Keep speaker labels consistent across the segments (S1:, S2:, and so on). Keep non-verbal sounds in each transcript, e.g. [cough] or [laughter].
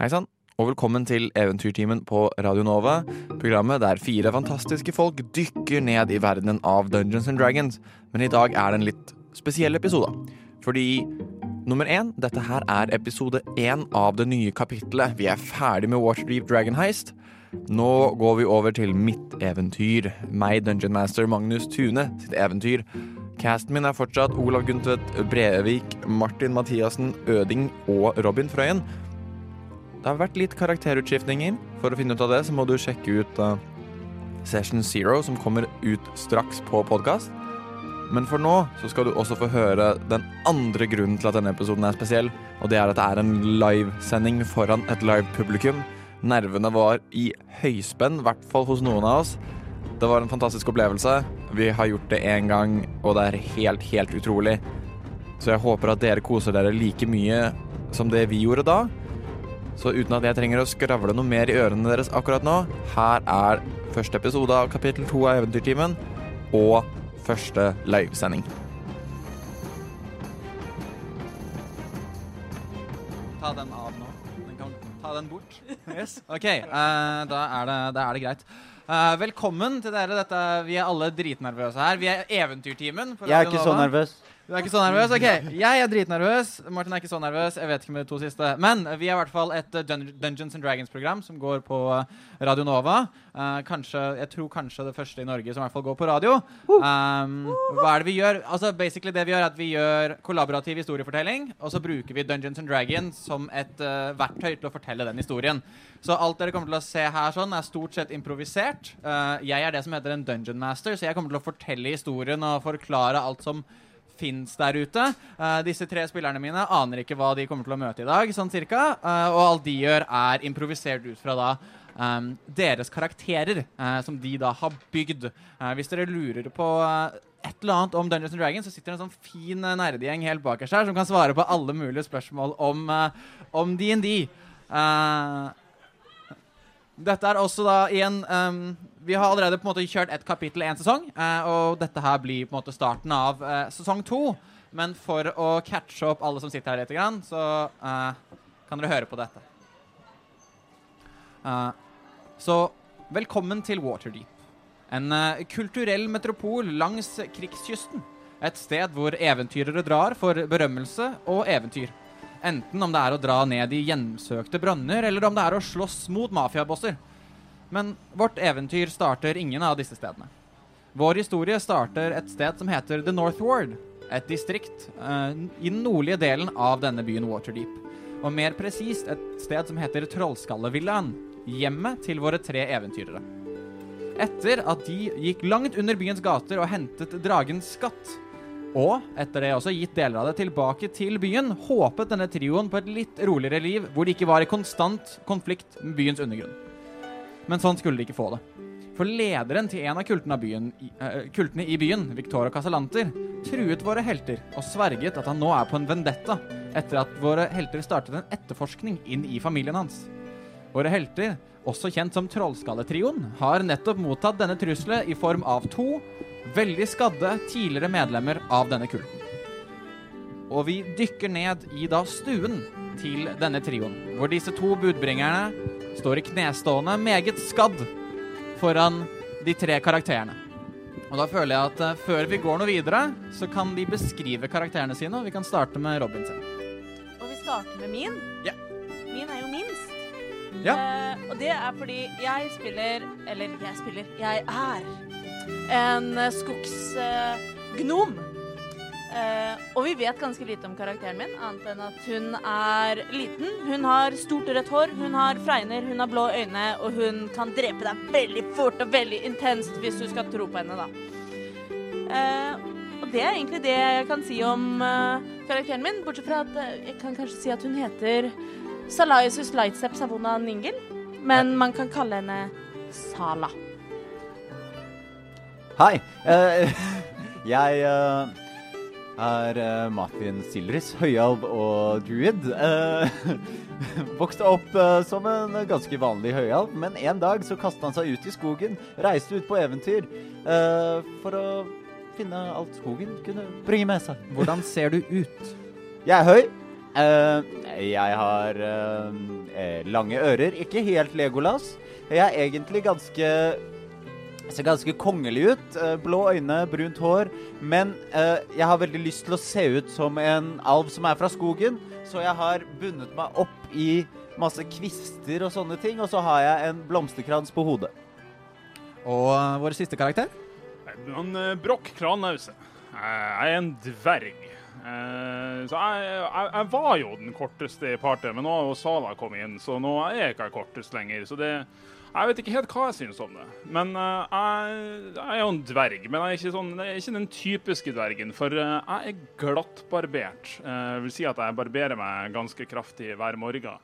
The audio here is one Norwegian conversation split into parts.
S1: Hei sann, og velkommen til Eventyrtimen på Radio Nova. Programmet der fire fantastiske folk dykker ned i verdenen av Dungeons and Dragons. Men i dag er det en litt spesiell episode. Fordi nummer én, dette her er episode én av det nye kapitlet. Vi er ferdig med Waterdeep Dragon Heist. Nå går vi over til mitt eventyr. Meg, Dungeon Master Magnus Tune, sitt eventyr. Casten min er fortsatt Olav Guntvedt Brevik, Martin Mathiassen Øding og Robin Frøyen. Det har vært litt karakterutskiftninger. For å finne ut av det, så må du sjekke ut eh, Session Zero, som kommer ut straks på podkast. Men for nå så skal du også få høre den andre grunnen til at denne episoden er spesiell, og det er at det er en livesending foran et live publikum. Nervene var i høyspenn, i hvert fall hos noen av oss. Det var en fantastisk opplevelse. Vi har gjort det én gang, og det er helt, helt utrolig. Så jeg håper at dere koser dere like mye som det vi gjorde da. Så uten at jeg trenger å skravle noe mer i ørene deres akkurat nå, her er første episode av kapittel to av Eventyrtimen og første livesending.
S2: Ta den av nå. Den kan ta den bort. Yes. OK, eh, da, er det, da er det greit. Eh, velkommen til dere. Dette, vi er alle dritnervøse her. Vi er Eventyrtimen. på
S3: Jeg er
S2: Radio
S3: ikke sånn så
S2: Nova.
S3: nervøs.
S2: Du er ikke så nervøs? Ok, Jeg er dritnervøs. Martin er ikke så nervøs. Jeg vet ikke med de to siste. Men vi er i hvert fall et eh, Dun Dungeons and Dragons-program som går på eh, Radio Nova. Eh, kanskje, jeg tror kanskje det første i Norge som i hvert fall går på radio. Um, hva er det vi gjør? Altså, basically det Vi gjør er at vi gjør kollaborativ historiefortelling, og så bruker vi Dungeons and Dragons som et eh, verktøy til å fortelle den historien. Så alt dere kommer til å se her sånn er stort sett improvisert. Eh, jeg er det som heter en Dungeon Master, så jeg kommer til å fortelle historien og forklare alt som fins der ute. Eh, disse tre spillerne mine aner ikke hva de kommer til å møte i dag, sånn cirka. Eh, og alt de gjør, er improvisert ut fra da ehm, deres karakterer, eh, som de da har bygd. Eh, hvis dere lurer på eh, et eller annet om Dungeons and Dragons, så sitter det en sånn fin eh, nerdegjeng helt bakerst her som kan svare på alle mulige spørsmål om, eh, om DND. Eh, dette er også da igjen ehm, Vi har allerede på en måte kjørt ett kapittel én sesong, eh, og dette her blir på en måte starten av eh, sesong to. Men for å catche opp alle som sitter her lite grann, så eh, kan dere høre på dette. Eh, så velkommen til Waterdeep. En eh, kulturell metropol langs krigskysten. Et sted hvor eventyrere drar for berømmelse og eventyr. Enten om det er å dra ned i hjemsøkte brønner, eller om det er å slåss mot mafiabosser. Men vårt eventyr starter ingen av disse stedene. Vår historie starter et sted som heter The North Ward, et distrikt eh, i den nordlige delen av denne byen Waterdeep. Og mer presist et sted som heter Trollskallevillaen, hjemmet til våre tre eventyrere. Etter at de gikk langt under byens gater og hentet dragens skatt, og etter det også gitt deler av det tilbake til byen, håpet denne trioen på et litt roligere liv hvor de ikke var i konstant konflikt med byens undergrunn. Men sånn skulle de ikke få det. For lederen til en av kultene, av byen, i- eh, kultene i byen, Victorio Casalanter, truet våre helter og sverget at han nå er på en vendetta etter at våre helter startet en etterforskning inn i familien hans. Våre helter, også kjent som Trollskalletrioen, har nettopp mottatt denne trusselet i form av to veldig skadde tidligere medlemmer av denne kulten. Og vi dykker ned i da stuen til denne trioen, hvor disse to budbringerne står i knestående, meget skadd, foran de tre karakterene. Og da føler jeg at eh, før vi går noe videre, så kan de beskrive karakterene sine, og vi kan starte med Robin sin.
S4: Og vi starter med min.
S2: Ja.
S4: Min er jo minst.
S2: Ja.
S4: Eh, og det er fordi jeg spiller Eller jeg spiller Jeg er en eh, skogsgnom. Eh, og vi vet ganske lite om karakteren min, annet enn at hun er liten. Hun har stort rødt hår, hun har fregner, hun har blå øyne, og hun kan drepe deg veldig fort og veldig intenst, hvis du skal tro på henne, da. Eh, og det er egentlig det jeg kan si om eh, karakteren min, bortsett fra at eh, jeg kan kanskje si at hun heter Salaisus Lightsep Savona Ningel, men man kan kalle henne Sala.
S3: Hei. eh, [laughs] jeg eh, er eh, Martin Silris, høyalv og druid. Eh, [laughs] vokste opp eh, som en ganske vanlig høyalv, men en dag så kastet han seg ut i skogen. Reiste ut på eventyr eh, for å finne alt skogen kunne bringe med seg.
S2: Hvordan ser du ut?
S3: Jeg er høy. Eh, jeg har eh, eh, lange ører. Ikke helt Legolas. Jeg er egentlig ganske Ser ganske kongelig ut. eh, Blå øyne, brunt hår. Men eh, jeg har veldig lyst til å se ut som en alv som er fra skogen, så jeg har bundet meg opp i masse kvister og sånne ting, og så har jeg en blomsterkrans på hodet.
S2: Og eh, vår siste karakter?
S5: Han eh, Brokk Kranause. Jeg er en dverg. Eh, Så jeg, jeg, jeg var jo den korteste i partiet, men nå har jo Sala kommet inn, så nå er jeg ikke kortest lenger. Så det Jeg vet ikke helt hva jeg syns om det. Men eh, jeg, jeg er jo en dverg. Men jeg er ikke, sånn, jeg er ikke den typiske dvergen, for eh, jeg er glattbarbert. Eh, vil si at jeg barberer meg ganske kraftig hver morgen.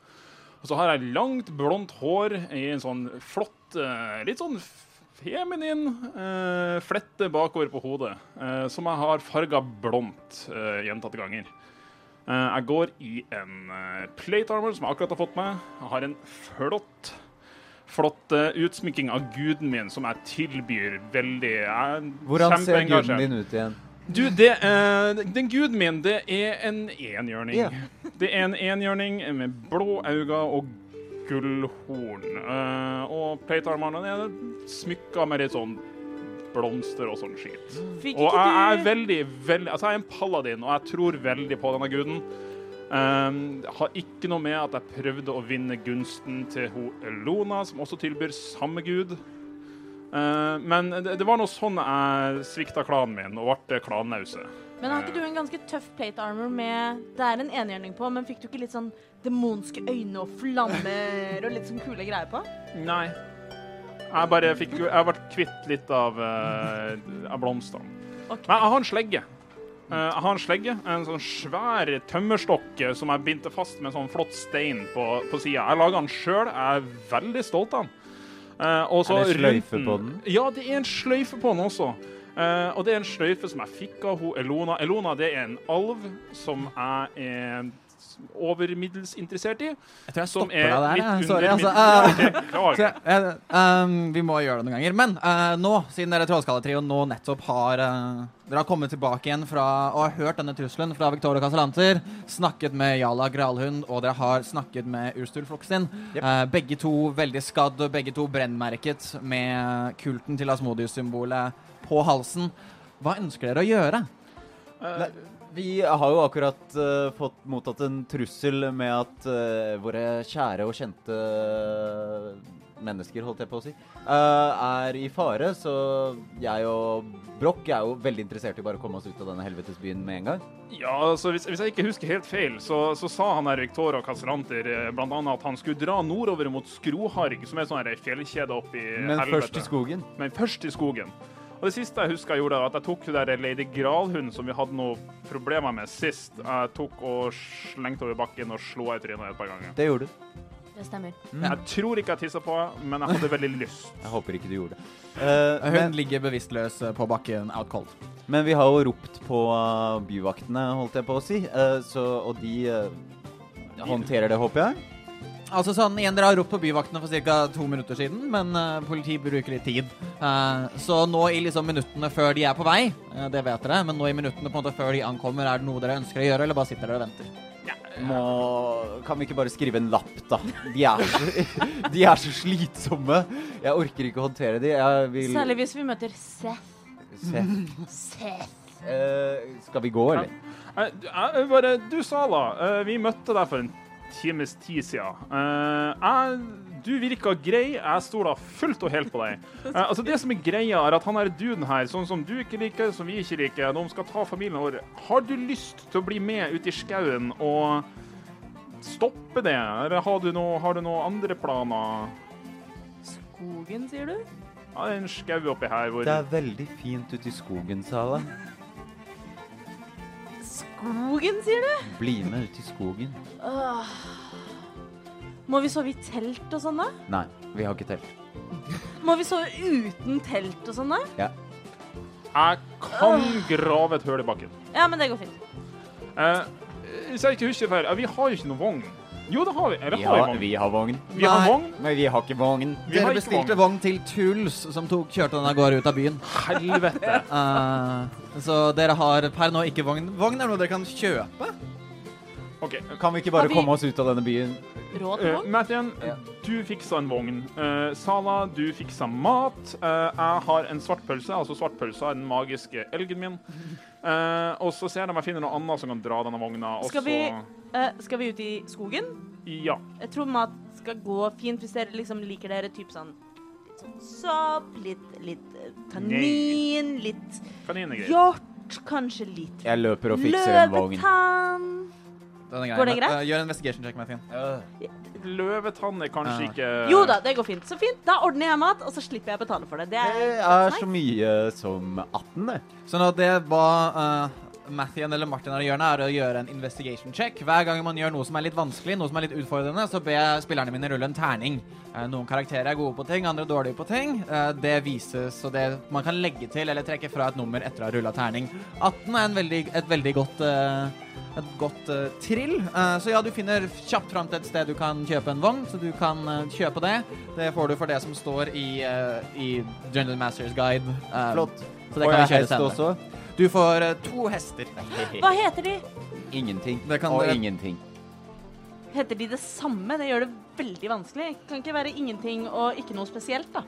S5: Og så har jeg langt, blondt hår i en sånn flott, eh, litt sånn feminin eh, flette bakover på hodet, eh, som jeg har farga blondt eh, gjentatte ganger. Eh, jeg går i en eh, plate armor som jeg akkurat har fått meg. Jeg har en flott flott eh, utsmykking av guden min som jeg tilbyr veldig. Jeg er
S3: Hvordan ser guden
S5: kjempeengasjert.
S3: din ut igjen?
S5: Du, det, eh, den guden min, det er en enhjørning.
S3: Ja.
S5: Det er en enhjørning med blå øyne og gullhorn. Eh, og platearmene er smykka med litt sånn blomster og sånn skit.
S4: Fikk
S5: Og jeg
S4: ikke
S5: er
S4: du
S5: veldig, veldig Altså, jeg er en paladin, og jeg tror veldig på denne guden. Um, har ikke noe med at jeg prøvde å vinne gunsten til ho Elona, som også tilbyr samme gud. Eh, men det, det var nå sånn jeg svikta klanen min og ble klannause.
S4: Men har ikke du en ganske tøff plate armor med Det er en enhjørning på, men fikk du ikke litt sånn demonske øyne og flammer og litt sånn kule greier på?
S5: Nei. Jeg bare fikk Jeg ble kvitt litt av, eh, av blomstene.
S4: Ok.
S5: Men jeg har en slegge. Eh, jeg har en slegge, en sånn svær tømmerstokk eh, som jeg bindte fast med en sånn flott stein på, på sida. Jeg laga den sjøl, jeg er veldig stolt av den. Eh, og så
S3: Er det sløyfe
S5: rundt
S3: på den?
S5: Ja, det er en sløyfe på den også. Eh, og det er en sløyfe som jeg fikk av hun Elona. Elona det er en alv som jeg er over middels interessert i.
S2: Jeg tror jeg
S5: Som
S2: stopper
S5: er
S2: deg der.
S5: litt
S2: jeg.
S5: under
S2: Sorry, altså. eh,
S5: [laughs] middels. Beklager.
S2: Så, jeg- jeg- ehm, vi må gjøre det noen ganger. Men eh, nå, siden dere Trollskalletrioen nå nettopp har eh, Dere har kommet tilbake igjen fra og har hørt denne trusselen fra Victoria Casalanter, snakket med Jala Gralhund, og dere har snakket med Urstul Floksin.
S3: Jep.
S2: Eh, begge to veldig skadd, og begge to brennmerket med kulten til Asmodius-symbolet på halsen. Hva ønsker dere å gjøre?
S3: Nei, vi har jo akkurat eh, fått mottatt en trussel med at eh, våre kjære og kjente eh, mennesker, holdt jeg på å si, eh, er i fare. Så jeg og Broch er jo veldig interessert i bare å komme oss ut av denne helvetesbyen med en gang.
S5: Ja, altså hvis, hvis jeg ikke husker helt feil, så, så sa han her Victor og Casalanter eh, blant annet at han skulle dra nordover mot Skroharg, som er sånn her fjellkjede oppi
S3: Men først i skogen.
S5: Men først i skogen. Og det siste jeg husker jeg gjorde, var at jeg tok det der Lady Gralhund som vi hadde noe problemer med sist. Jeg tok og slengte over bakken og slo henne i trynet et par ganger.
S3: Det gjorde du.
S4: Det stemmer.
S3: Mm.
S5: Jeg tror ikke jeg tissa på henne, men jeg hadde veldig lyst.
S3: Jeg håper ikke du gjorde det. Eh,
S2: Hun
S3: men,
S2: ligger bevisstløs eh, på bakken, out cold.
S3: men vi har jo ropt på eh, byvaktene, holdt jeg på å si, eh, så, og de eh, håndterer det, håper jeg.
S2: Altså sånn, igjen, Dere har ropt på byvaktene for ca. to minutter siden, men eh, politiet bruker litt tid. Eh, så nå i liksom minuttene før de er på vei, eh, det vet dere, men nå i minuttene på en måte før de ankommer, er det noe dere ønsker å gjøre, eller bare sitter dere og venter?
S3: Må, kan vi ikke bare skrive en lapp, da? De er så, [laughs] de er så slitsomme. Jeg orker ikke å håndtere de. Jeg vil
S4: Særlig hvis vi møter Seth.
S3: se.
S4: Seth.
S3: Eh, skal vi gå, eller?
S5: Jeg, jeg bare, du Sala, eh, vi møtte deg for en times tid siden. Eh, jeg, du virka grei, jeg stoler fullt og helt på deg. Eh, altså Det som er greia, er at han her duden her, sånn som du ikke liker, som vi ikke liker, når han skal ta familien vår, har du lyst til å bli med ut i skauen og stoppe det, eller har du noe- har du noen andre planer?
S4: Skogen, sier du?
S5: Ja, det er en skau oppi her hvor
S3: Det er veldig fint ute i skogen, Sala.
S4: Skogen, sier du?
S3: Bli med ut i skogen.
S4: Åh. Må vi sove i telt og sånn, da?
S3: Nei, vi har ikke telt.
S4: Må vi sove uten telt og sånn, da?
S5: Jeg kan grave et høl i bakken.
S4: Ja, men det går fint.
S5: Eh, hvis jeg ikke husker feil, eh, vi har jo ikke noen vogn. Jo, det har vi. Eller
S3: Vi
S5: har vi
S3: har,
S5: vogn?
S3: vi har vogn.
S5: Vi har
S2: Nei.
S5: vogn.
S3: Men vi har ikke vogn.
S5: Vi har
S2: Dere
S5: ikke
S2: bestilte vogn til Truls, som tok, kjørte den av gårde ut av byen. [laughs]
S5: Helvete.
S2: Eh, så dere har per nå ikke vogn. Vogn er noe dere kan kjøpe.
S5: Å OK.
S3: Kan vi ikke bare
S4: Har vi-
S3: komme oss ut av denne byen?
S4: Råd
S5: Uh,
S4: på?
S5: Mathien,
S3: Ja.
S5: du fiksa en vogn. Eh, Sala, du fiksa mat. Eh, jeg har en svartpølse. Altså, svartpølsa er den magiske elgen min. Eh, og så ser jeg om jeg finner noe annet som kan dra denne vogna. og
S4: Skal
S5: så-
S4: vi- Eh, skal vi ut i skogen?
S5: Ja.
S4: Jeg tror mat skal gå fint hvis dere liksom liker dere typ sånn litt sånn sopp, litt, litt eh, kanin, litt
S5: Kaninegreier.
S4: hjort, kanskje litt
S3: Jeg løper og fikser en vogn.
S4: løvetann.
S2: Den er
S4: Går det greit?
S2: Eh, Gjør en investigation check, Mathien.
S5: Løvetann er kanskje
S2: Ja.
S5: ikke
S4: Jo da, det går fint. Så fint. Da ordner jeg mat, og så slipper jeg å betale for det. Det
S3: Det
S4: er
S3: er så mye som 18, det.
S2: Så nå det hva uh, Mathien eller Martin har å gjøre, nå, er å gjøre en investigation check. Hver gang man gjør noe som er litt vanskelig, noe som er litt utfordrende, så ber jeg spillerne mine rulle en terning. Eh, noen karakterer er gode på ting, andre dårlige på ting. Eh, det vises, og det man kan legge til eller trekke fra et nummer etter å ha rulla terning. 18 er en veldig, et veldig godt eh, et godt eh, trill. Eh, så ja, du finner kjapt fram til et sted du kan kjøpe en vogn, så du kan eh, kjøpe det. Det får du for det som står i, eh, i General Masters Guide. eh,
S3: Flott.
S2: Så det
S3: Og
S2: kan
S3: jeg
S2: vi kjøre
S3: hest
S2: senere.
S3: også.
S2: Du får eh, to hester.
S4: Hva heter de?
S3: Ingenting.
S2: Det kan
S3: Og
S2: dere-
S3: ingenting.
S4: Heter de det samme? Det gjør det veldig vanskelig. Kan ikke være ingenting og ikke noe spesielt, da.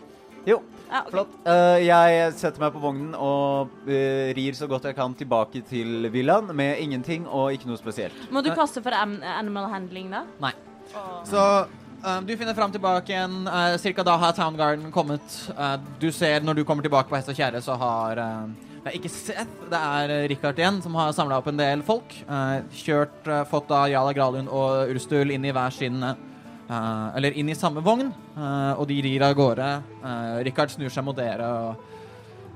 S3: Jo,
S4: Ja, ok.
S3: flott. Eh, jeg setter meg på vognen og eh, rir så godt jeg kan tilbake til villaen med ingenting og ikke noe spesielt.
S4: Må du kaste for am- animal handling, da?
S2: Nei.
S4: Åh.
S2: Så eh, du finner fram tilbake igjen. eh, cirka da har Town Garden kommet. Eh, du ser når du kommer tilbake på Hest og kjerre, så har eh, Det er ikke Seth, det er eh, Richard igjen, som har samla opp en del folk. eh, kjørt, eh, fått da Jala Gralund og Urstul inn i hver sin eh, Eller inn i samme vogn, eh, og de rir av gårde. Eh, Richard snur seg mot dere og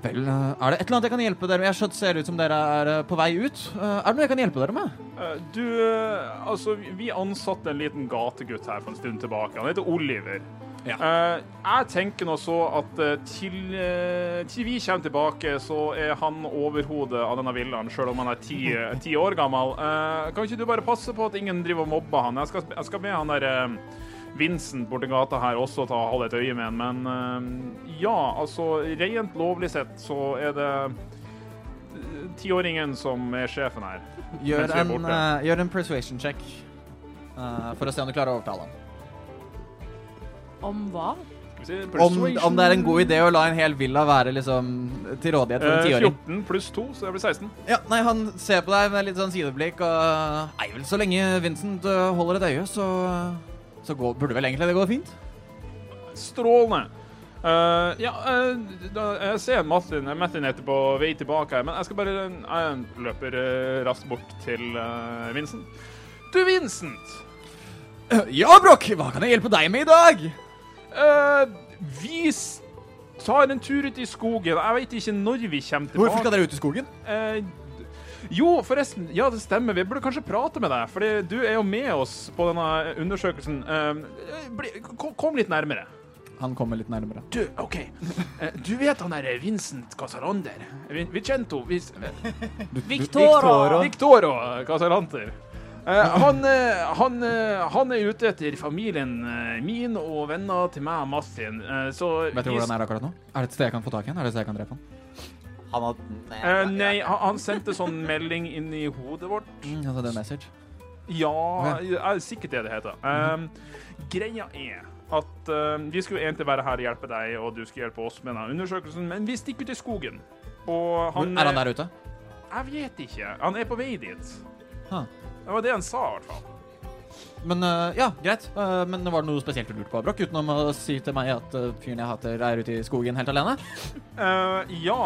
S2: Vel, eh, er det et eller annet jeg kan hjelpe dere med? Jeg skjønner det ser ut som dere er eh, på vei ut. Eh, er det noe jeg kan hjelpe dere med?
S5: Eh, Du, eh, altså, vi- vi ansatte en liten gategutt her for en stund tilbake. Han heter Oliver.
S2: Ja.
S5: Eh, jeg tenker nå så at eh, til, eh, til vi kommer tilbake, så er han overhodet av denne villaen, selv om han er ti, eh, ti år gammel. Eh, kan ikke du bare passe på at ingen driver og mobber han? Jeg skal, jeg skal be han der eh, Vincent borti gata her også ta holde et øye med han, men eh, ja, altså, rent lovlig sett så er det eh, tiåringen som er sjefen her. Mens
S2: Gjør
S5: vi er
S2: en,
S5: borte.
S2: eh, gjør en persuasion check eh, for å se om du klarer å overtale ham.
S4: Om hva?
S5: Skal vi si
S2: Om,
S5: persuasion?
S2: om det er en god idé å la en hel villa være liksom, til rådighet for en
S5: Eh,
S2: tiåring.
S5: 14 pluss 2, så det blir 16.
S2: Ja, nei, han ser på deg med litt sånn sideblikk og Nei vel, så lenge Vincent eh, holder et øye, så, så går, burde vel egentlig det gå fint? [clears throat]
S5: Strålende. Eh, ja, eh, da, jeg ser Martin, Martin heter på vei tilbake her, men jeg skal bare Jeg løper eh, raskt bort til eh, Vincent. Du, Vincent!
S2: Ja, Brokk, hva kan jeg hjelpe deg med i dag?
S5: eh, vi s- tar en tur ut i skogen. Jeg vet ikke når vi kommer tilbake.
S2: Hvorfor skal dere ut i skogen?
S5: Eh, d- jo, forresten. Ja, det stemmer. Vi burde kanskje prate med deg, Fordi du er jo med oss på denne undersøkelsen. Eh, bli, kom, kom litt nærmere.
S2: Han kommer litt nærmere.
S5: Du, OK. Eh, Du vet han der Vincent Casarander? Vin- Vicento Vis- eh,
S4: Victoro!
S5: Victoro Casarander. Eh, han, eh, han, eh, han er ute etter familien eh, min og venner til meg og Martin. Eh, så
S2: Vet du hvor han er akkurat nå? Er det et sted jeg kan få tak i ham? Er det et sted jeg kan drepe ham?
S3: Han har
S5: Eh, nei, han, han sendte sånn melding inn i hodet vårt.
S2: Mm, altså, det er en message.
S5: Ja, er sikkert det det heter. Um, greia er at um, vi skulle egentlig være her og hjelpe deg, og du skulle hjelpe oss med denne undersøkelsen, men vi stikker ut i skogen. Og han, eh,
S2: er han der ute?
S5: Jeg vet ikke. Han er på vei dit.
S2: Huh.
S5: Det var det han sa, i hvert fall.
S2: Men eh, ja, greit. Eh, men var det noe spesielt du lurte på, Brokk? Utenom å si til meg at eh, fyren jeg hater, er ute i skogen helt alene?
S5: Eh, ja,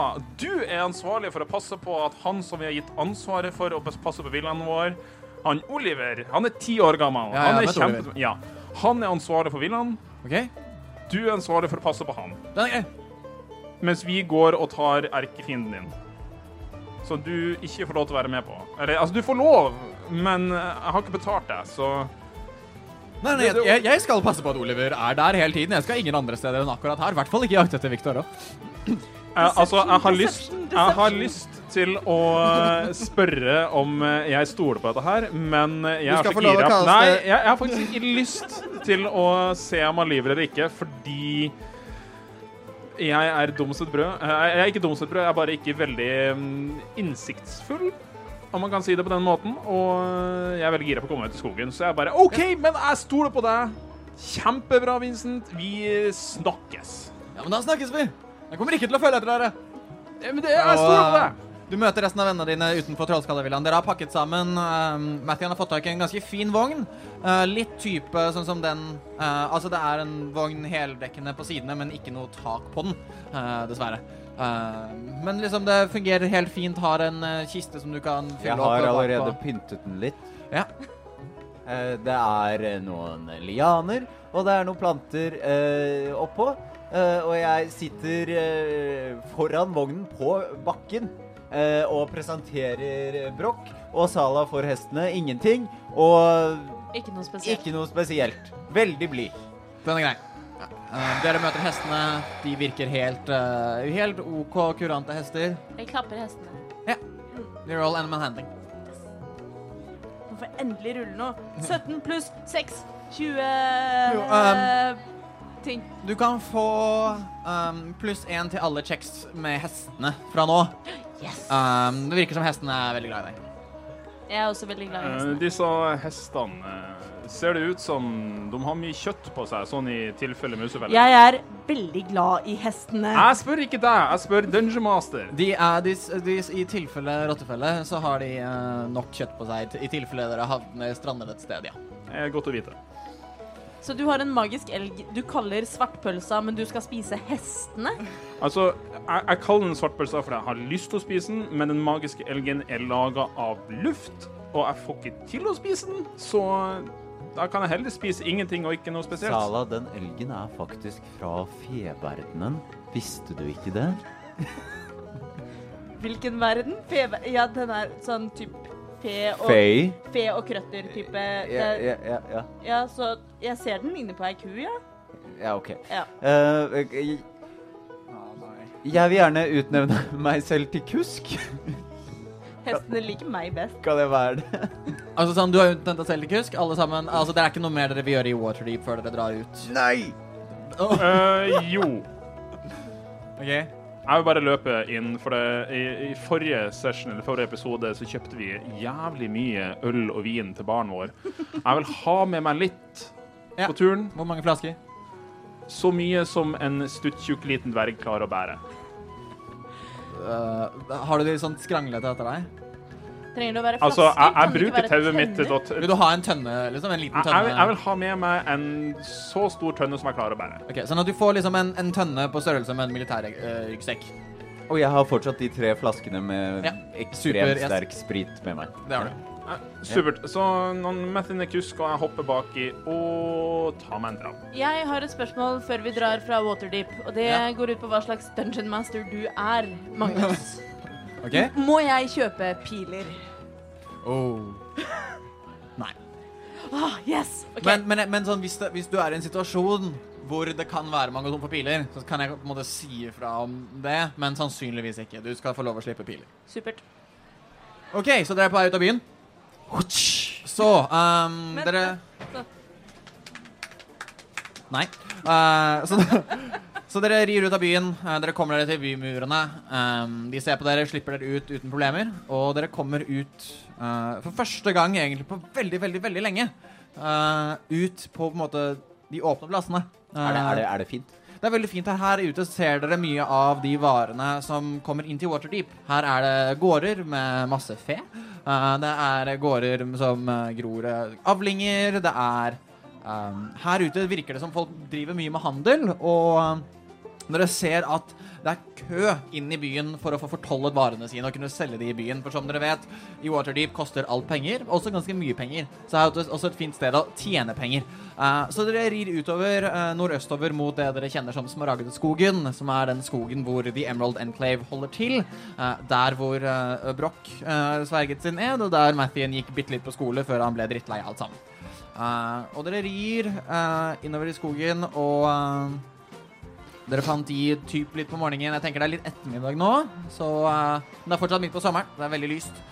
S5: du er ansvarlig for å passe på at han som vi har gitt ansvaret for å passe på villaen vår, han Oliver, han er ti år gammel.
S2: Ja, ja,
S5: han, er
S2: jeg vet Oliver.
S5: kjempe... ja. han er ansvarlig for villaen.
S2: OK?
S5: Du er ansvarlig for å passe på han.
S2: Den er grei.
S5: Mens vi går og tar erkefienden din. Som du ikke får lov til å være med på. Eller, altså, du får lov, men eh, jeg har ikke betalt deg, så
S2: Nei, nei, jeg- jeg, jeg skal passe på at Oliver er der hele tiden. Jeg skal ingen andre steder enn akkurat her. I hvert fall ikke jakte etter Victor. da.
S5: Eh, Altså, jeg har lyst,
S4: deception,
S5: jeg har
S4: deception.
S5: lyst til å eh, spørre om eh, jeg stoler på dette her, men eh, jeg
S2: Du
S5: er
S2: skal
S5: så
S2: få lov å
S5: gira.
S2: kaste-
S5: Nei, jeg, jeg har faktisk ikke lyst til å se om han lyver eller ikke, fordi jeg er dum som et brød. Eh, Jeg er ikke dum som et brød, jeg er bare ikke veldig mm, innsiktsfull. om man kan si det på den måten. Og eh, jeg er veldig gira på å komme meg ut i skogen, så jeg bare OK, men jeg stoler på deg. Kjempebra, Vincent. Vi snakkes.
S2: Ja, men da snakkes vi! Jeg kommer ikke til å følge etter dere.
S5: Ja, men det, jeg stoler på deg.
S2: um, Du møter resten av vennene dine utenfor Trollskallevillaen. Dere har pakket sammen. eh, Matthew har fått tak i en ganske fin vogn. Eh, litt type sånn som den eh, Altså, det er en vogn heldekkende på sidene, men ikke noe tak på den, eh, dessverre. Eh, men liksom, det fungerer helt fint. Har en eh, kiste som du kan fylle
S3: Jeg
S2: opp. og
S3: har
S2: bakpå.
S3: allerede pyntet den litt.
S2: Ja.
S3: Eh, Det er eh, noen lianer, og det er noen planter eh, oppå. Eh, og jeg sitter eh, foran vognen på bakken eh, og presenterer eh, brokk. Og Sala for hestene. Ingenting. Og
S4: Ikke noe spesielt.
S3: ikke noe spesielt. Veldig blid.
S2: Den er grei. Eh, dere møter hestene. De virker helt, eh, helt OK kurante hester.
S4: Jeg klapper hestene.
S2: They're all animal handling.
S4: Nå får jeg endelig rulle nå. 17 pluss 6. 20
S2: Jo, ehm.
S4: eh, ting.
S2: Du kan få um, pluss én til alle checks med hestene fra nå.
S4: Yes!
S2: Um, det virker som hestene er veldig glad i deg.
S4: Jeg er også veldig glad i
S5: Eh,
S4: hestene.
S5: disse hestene eh, Ser det ut som de har mye kjøtt på seg, sånn i tilfelle musefelle?
S4: Jeg er veldig glad i hestene.
S5: Jeg spør ikke deg, jeg spør Dungeon Master.
S2: De er, de, s- de, s- I tilfelle rottefelle så har de eh, nok kjøtt på seg til- i tilfelle dere havner strander et sted, ja.
S5: Det er godt å vite.
S4: Så du har en magisk elg du kaller svartpølsa, men du skal spise hestene?
S5: Altså, jeg, jeg kaller den svartpølsa fordi jeg har lyst til å spise den, men den magiske elgen er laga av luft, og jeg får ikke til å spise den, så da kan jeg heller spise ingenting og ikke noe spesielt.
S3: Sala, den elgen er faktisk fra feverdenen. Visste du ikke det?
S4: Hvilken verden? Fe ja, den er sånn typ fe og,
S3: Fey?
S4: fe og krøtter-type.
S3: Ja, ja, ja, ja.
S4: Ja, så jeg ser den ligner på ei ku, ja.
S3: ja, OK.
S4: ja.
S2: Ah,
S3: Eh, jeg- jeg vil gjerne utnevne [laughs] meg selv til kusk. [laughs]
S4: Hestene liker meg best.
S3: Kan jeg være det? [laughs]
S2: Altså sånn, Du har jo utnevnt deg selv til kusk. alle sammen. Altså, Det er ikke noe mer dere vil gjøre i Waterdeep før dere drar ut.
S3: Nei!
S5: Eh, jo.
S2: Ok?
S5: Jeg vil bare løpe inn, for det, i, i forrige session, eller forrige episode så kjøpte vi jævlig mye øl og vin til baren vår. Jeg vil ha med meg litt
S2: Ja.
S5: på turen.
S2: Hvor mange flasker?
S5: Så mye som en stuttjukk liten dverg klarer å bære.
S2: Eh, har du de sånn skranglete etter deg?
S4: Trenger det å være flasker?
S5: Altså, jeg, jeg
S4: Kan det ikke
S5: bruker
S4: være
S5: tauet mitt til
S4: tenner?
S5: dot...
S2: Vil du ha en tønne? liksom? En liten
S5: Jeg,
S2: tønne?
S5: jeg, vil- jeg vil ha med meg en så stor tønne som jeg klarer å bære.
S2: Ok, Sånn at du får liksom en, en tønne på størrelse med en eh, militærryggsekk.
S3: Og jeg har fortsatt de tre flaskene med
S2: Ja. Super,
S3: ekstremt
S2: yes.
S3: sterk sprit med meg.
S2: Det har du.
S5: Eh, Supert. Så noen methene kusk, og jeg hopper baki og tar meg en dram.
S4: Jeg har et spørsmål før vi drar fra Waterdeep, og det
S2: Ja.
S4: går ut på hva slags dungeon master du er,
S2: [laughs]
S4: Magnus.
S2: Ok?
S4: Må jeg kjøpe piler?
S2: Oh.
S4: Ah, yes! Ok,
S2: Men, men, men sånn, hvis, det, hvis du er i en situasjon hvor det kan være mange tomme piler, så kan jeg på en måte si ifra om det, men sannsynligvis ikke. Du skal få lov å slippe piler.
S4: supert.
S2: OK, så dere er på vei ut av byen. Så um,
S4: Men-
S2: dere
S4: så-
S2: Nei. Eh, så, [laughs] så dere rir ut av byen. eh, dere kommer dere til bymurene. Um, de ser på dere, slipper dere ut uten problemer. Og dere kommer ut eh, for første gang egentlig på veldig, veldig, veldig lenge. eh, ut på på en måte de åpne plassene.
S3: Er det, er det,
S2: Eh,
S3: er det fint?
S2: det er veldig fint her. Her ute ser dere mye av de varene som kommer inn til Waterdeep. Her er det gårder med masse fe. Eh, det er gårder som eh, gror eh, avlinger. Det er eh, Her ute virker det som folk driver mye med handel, og eh, dere ser at det er kø inn i byen for å få fortollet varene sine og kunne selge de i byen. For som dere vet, i Waterdeep koster alt penger, også ganske mye penger. Så her er det også et fint sted å tjene penger. Eh, så dere rir utover eh, nordøstover mot det dere kjenner som Smaragdeskogen, som er den skogen hvor The Emerald Enclave holder til. eh, der hvor eh, Broch eh, sverget sin ed, og der Mathien gikk bitte litt på skole før han ble drittlei alt sammen. Eh, og dere rir eh, innover i skogen, og eh, dere fant de typ litt på morgenen. Jeg tenker det er litt ettermiddag nå, så eh, Men det er fortsatt midt på sommeren. Det er veldig lyst.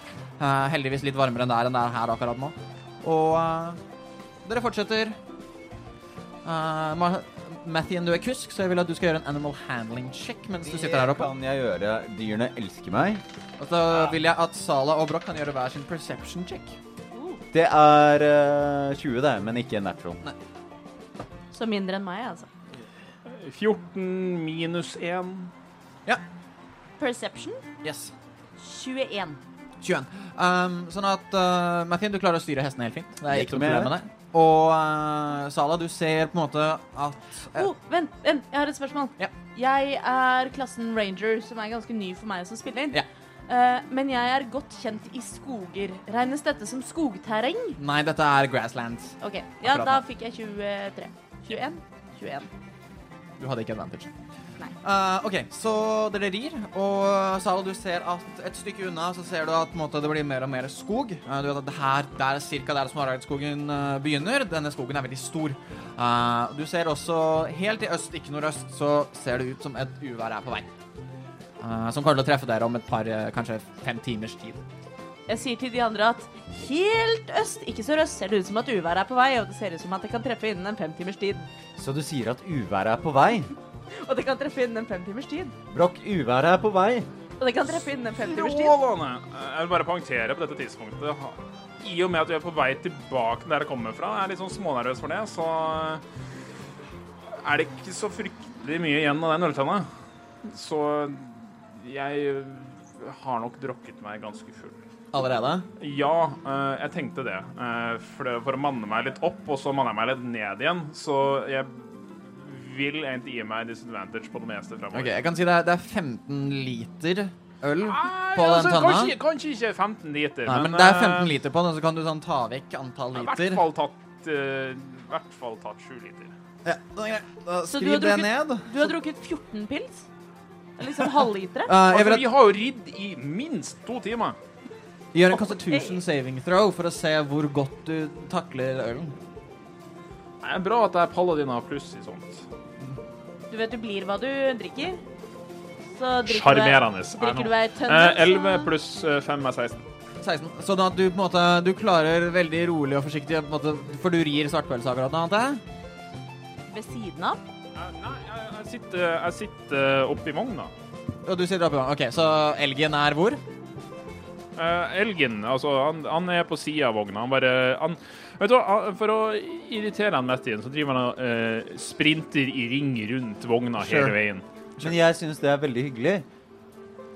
S2: Eh, heldigvis litt varmere enn der enn det er her akkurat nå. Og eh, dere fortsetter. Eh, Ma Mathien, du er kusk, så jeg vil at du skal gjøre en animal handling check mens du sitter her oppe.
S3: kan jeg gjøre. Dyrene elsker meg.
S2: Og så vil jeg at Sala og Broch kan gjøre hver sin perception check.
S3: Det er eh, 20, det, men ikke natural.
S4: Så mindre enn meg, altså.
S5: 14 minus 1.
S4: Perception
S2: Yes.
S4: 21.
S2: 21. Um, sånn at uh, Mathien, du klarer å styre hestene helt fint. Det er
S3: Vet
S2: ikke
S3: du
S2: noe
S3: mer?
S2: problem med det. Og uh, Sala, du ser på en måte at eh,
S4: Oh, vent, vent, jeg har et spørsmål.
S2: Ja.
S4: Jeg er klassen ranger, som er ganske ny for meg som spiller.
S2: Ja.
S4: Eh, men jeg er godt kjent i skoger. Regnes dette som skogterreng?
S2: Nei, dette er grasslands.
S4: OK. Ja,
S2: Akkurat
S4: da
S2: nå.
S4: fikk jeg 23. 21? 21.
S2: Du hadde ikke advantage.
S4: Nei.
S2: Eh, OK, så dere rir, og Sala, du ser at et stykke unna så ser du at på en måte, det blir mer og mer skog. Eh, du vet at det her, det er cirka der Smaragdskogen eh, begynner. Denne skogen er veldig stor. Eh, du ser også helt i øst, ikke nordøst, så ser det ut som et uvær er på vei. Eh, som kommer til å treffe dere om et par, eh, kanskje fem timers tid.
S4: Jeg sier til de andre at helt øst, ikke sørøst, ser det ut som at uværet er på vei, og det ser ut som at det kan treffe innen en femtimers tid.
S3: Så du sier at uværet er på vei?
S4: Og det kan treffe innen en femtimers tid.
S3: Brokk, uværet er på vei.
S4: Og det kan treffe innen en femtimers tid.
S5: Strålende! Jeg vil bare poengtere på dette tidspunktet. I og med at du er på vei tilbake der jeg kommer fra, jeg er litt sånn smånervøs for det, så er det ikke så fryktelig mye igjen av den øltanna. Så jeg har nok drukket meg ganske full.
S2: Allerede?
S5: Ja, eh, jeg tenkte det. Eh, For, det- for å manne meg litt opp, og så manner jeg meg litt ned igjen. Så jeg vil egentlig gi meg disadvantage på det meste fremover.
S2: OK, jeg kan si det er, det er 15 liter øl
S5: Nei,
S2: på den
S5: altså,
S2: tanna.
S5: Kanskje, kanskje ikke 15 liter.
S2: Nei, men det er
S5: eh,
S2: 15 liter på den, og så kan du sånn ta vekk antall
S5: I
S2: liter.
S5: hvert fall tatt eh, i hvert fall tatt sju liter.
S2: Ja, det er greit. Da
S4: Så du
S2: skriv
S4: har
S2: det
S4: drukket-
S2: ned.
S4: Du har drukket 14 pils? Det er Liksom halvlitere?
S2: Eh, jeg vil
S5: Altså,
S2: at
S5: vi har jo ridd i minst to timer.
S2: Gjør en constitution saving throw for å se hvor godt du takler ølen.
S5: Det er bra at det er paladin av pluss i sånt.
S4: Du vet du blir hva du drikker. Så drikker du ei-
S5: Sjarmerende.
S4: drikker du ei tønne,
S5: Eh, 11
S4: så-
S5: pluss 5 er 16.
S2: 16. Sånn at du på en måte Du klarer veldig rolig og forsiktig å på en måte, For du rir svartpølse akkurat nå, antar jeg?
S4: ved siden av.
S5: Eh, nei, jeg, jeg sitter, jeg sitter oppi vogna.
S2: Og du sitter oppe i gang. OK, så elgen er hvor?
S5: Eh, elgen, altså, han, han er på sida av vogna. Han bare han, Vet du hva, han- for å irritere han mest igjen, så driver han og eh, sprinter i ring rundt vogna
S2: Sure.
S5: hele veien.
S3: Men jeg syns det er veldig hyggelig.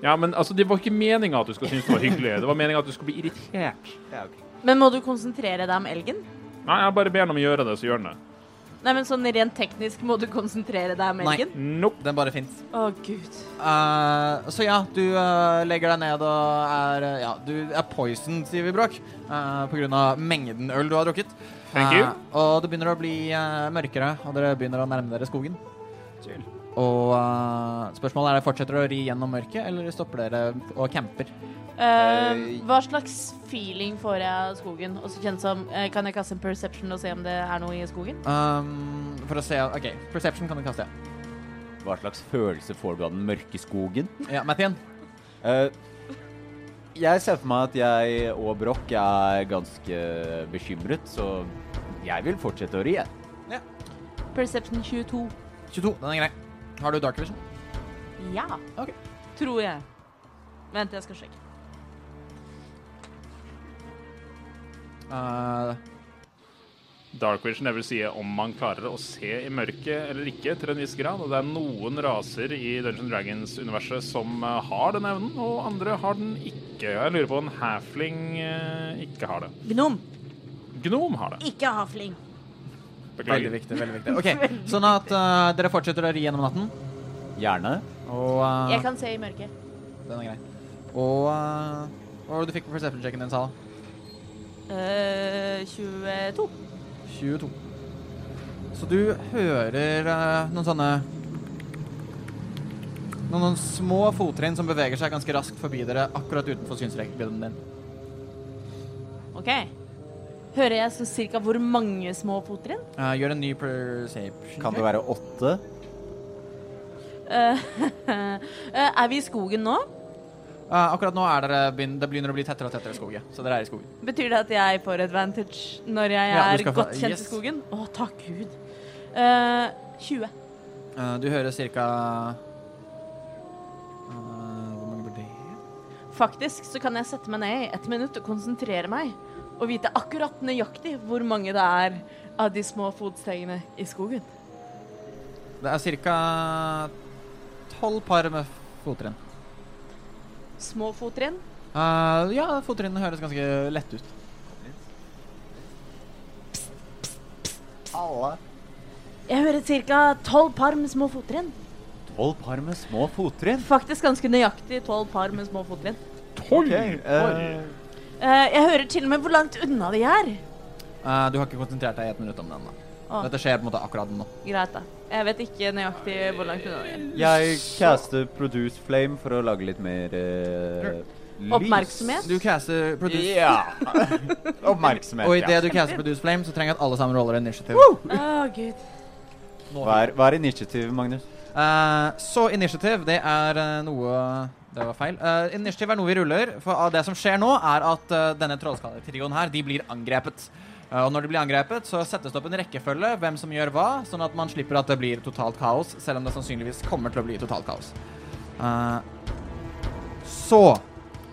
S5: Ja, men altså, det var ikke meninga at du skulle synes det var hyggelig. Det var meninga at du skulle bli irritert.
S4: Men må du konsentrere deg om elgen?
S5: Nei, jeg bare ber han om å gjøre det, så gjør han det.
S4: Nei, men sånn rent teknisk, må du konsentrere deg om
S2: Nei.
S4: elgen?
S5: Nope.
S2: Den bare fins.
S4: Å, gud.
S2: Eh, så ja, du eh, legger deg ned og er eh, Ja, du er poison, sier vi, Bråk. eh, på grunn av mengden øl du har drukket.
S5: Thank you.
S2: Eh, og det begynner å bli eh, mørkere, og dere begynner å nærme dere skogen. Og eh, spørsmålet er fortsetter dere å ri gjennom mørket, eller stopper dere og camper?
S4: Eh, hva slags feeling får jeg av skogen? Også kjent som, eh, Kan jeg kaste en perception og se om det er noe i skogen?
S2: Um, for å se OK, perception kan du kaste. ja.
S3: Hva slags følelse får du av den mørke skogen?
S2: Ja, Mathien.
S3: Eh, jeg ser for meg at jeg og Brokk er ganske bekymret, så jeg vil fortsette å ri. jeg.
S4: Perception 22.
S2: 22. Den er grei. Har du dark vision?
S4: Ja.
S2: Ok.
S4: Tror jeg. Vent, jeg skal sjekke.
S2: Eh,
S5: Dark Vision det vil si om man klarer å se i mørket eller ikke, til en viss grad. Og det er noen raser i Dungeon Dragons-universet som eh, har den evnen, og andre har den ikke. Jeg lurer på om en halfling eh, ikke har det.
S4: Gnom.
S5: Gnom har det.
S4: Ikke havfling.
S2: veldig
S5: Beklager.
S2: viktig. veldig viktig OK, Sånn at eh, dere fortsetter å ri gjennom natten.
S3: Gjerne.
S2: Og eh,
S4: Jeg kan se i mørket.
S2: Den er grei. Og eh, hva var det du fikk på perception-checken din, Sala?
S4: Eh, 22.
S2: 22. Så du hører eh, noen sånne noen, noen små fottrinn som beveger seg ganske raskt forbi dere akkurat utenfor synsrekkevidden din.
S4: OK. Hører jeg så cirka hvor mange små fottrinn?
S2: Eh, gjør en ny Eh, perception.
S3: Kan det være åtte?
S4: Eh, [laughs] eh, er vi i skogen nå?
S2: Eh, akkurat nå er dere begyn det begynner å bli tettere og tettere skog, ja. så dere er i skogen.
S4: Betyr det at jeg får advantage når jeg
S2: Ja, du
S4: er
S2: skal få-
S4: godt kjent
S2: yes.
S4: i skogen? Å, takk Gud. Eh, 20.
S2: Eh, du hører cirka eh, Hvor mange blir det?
S4: Faktisk så kan jeg sette meg ned i ett minutt og konsentrere meg og vite akkurat nøyaktig hvor mange det er av de små fotstegene i skogen.
S2: Det er ca. tolv par med fottrinn.
S4: Små fottrinn.
S2: Eh, ja, fottrinnene høres ganske lette ut.
S3: Alle.
S4: Jeg hører ca. tolv par med små fottrinn.
S3: Tolv par med små fottrinn.
S4: Faktisk ganske nøyaktig tolv par med små fottrinn.
S5: Tolv
S3: Ok, eh,
S5: år!
S4: Eh, jeg hører til og med hvor langt unna de er.
S2: Eh, du har ikke konsentrert deg i ett minutt om den. da.
S4: Å,
S2: Dette skjer på en måte akkurat nå.
S4: greit, da. Jeg vet ikke nøyaktig hvor langt unna de er.
S3: jeg caster Produce Flame for å lage litt mer eh, lys.
S4: Oppmerksomhet?
S2: Du caster produce,
S3: Ja. [laughs] Oppmerksomhet,
S2: og
S3: ja.
S2: idet du caster produce flame, så trenger jeg at alle sammen roller initiativ.
S4: Å, gud.
S2: Nå.
S3: Hva er, hva er initiativ, Magnus?
S2: Eh, så initiativ, det er eh, noe Det var feil. Eh, initiativ er noe vi ruller. For av det som skjer nå, er at eh, denne trollskalletrioen her, de blir angrepet. Eh, og når de blir angrepet, så settes det opp en rekkefølge hvem som gjør hva, sånn at man slipper at det blir totalt kaos, selv om det sannsynligvis kommer til å bli totalt kaos. Eh, så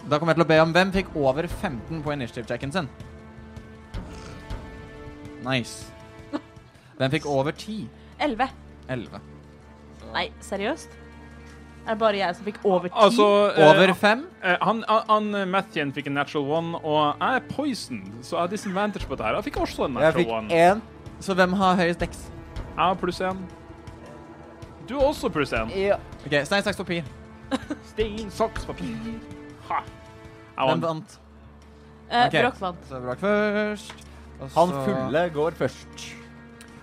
S2: Da kommer jeg til å be om hvem fikk over 15 på initiative-checken sin. Nice. Hvem fikk over 10?
S4: Elleve.
S2: 11.
S4: Nei, seriøst? Er det bare jeg som fikk over
S2: Ah,
S4: ti?
S5: Altså eh,
S2: Over 5?
S5: eh, Han, han, han Mathien fikk en natural one, og jeg er poisoned, så jeg har disadvantage på det her. Jeg fikk også en
S3: Jeg
S5: natural
S3: fikk
S5: one.
S3: én.
S2: Så hvem har høyest dex?
S5: Jeg har pluss én. Du har også pluss én.
S2: Ok, Stein, saks, papir.
S5: Stein, saks, papir. Ha. Jeg
S2: Hvem
S5: vant.
S2: vant?
S4: Eh,
S2: ok.
S4: Brokk vant.
S2: Så Brak først. og
S3: Han
S2: så-
S3: fulle går først.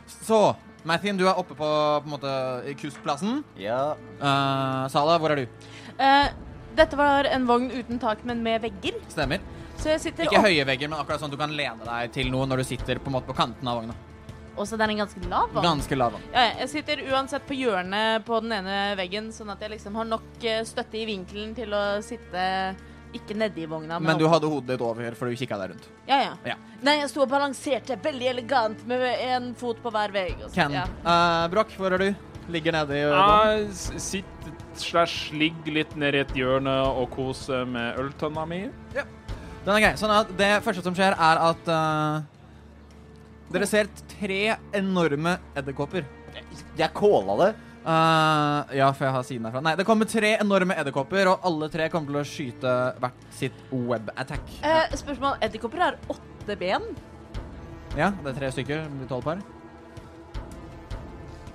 S2: Så Mathien, du er oppe på, på en måte, i kustplassen.
S3: Ja.
S2: Eh, Sala, hvor er du?
S4: Eh, dette var en vogn uten tak, men med vegger.
S2: Stemmer.
S4: Så jeg sitter
S2: Ikke
S4: opp-
S2: høye vegger, men akkurat sånn at du kan lene deg til noe når du sitter på en måte på kanten av vogna.
S4: Og så det er en ganske lav vogn.
S2: Ganske lav vann.
S4: Ja, ja, jeg sitter uansett på hjørnet på den ene veggen, sånn at jeg liksom har nok eh, støtte i vinkelen til å sitte ikke nedi vogna.
S2: Men du
S4: opp-
S2: hadde hodet ditt over for du kikka deg rundt.
S4: ja, ja.
S2: Ja.
S4: Nei, jeg sto og balanserte veldig elegant med en fot på hver vegg. og så-
S2: Ken.
S4: Ja.
S2: Eh, Broch, hvor er du? Ligger nede i båten.
S5: Jeg s- sitter slash ligger litt nede i et hjørne og koser med øltønna mi.
S2: Den er grei. Sånn at det første som skjer, er at eh, Dere ser tre enorme edderkopper.
S3: Jeg calla det.
S2: Eh, ja, for jeg har siden herfra. Nei, det kommer tre enorme edderkopper, og alle tre kommer til å skyte hvert sitt web-attack.
S4: Eh, spørsmål. Edderkopper har åtte ben.
S2: Ja, det er tre stykker. Det blir tolv par.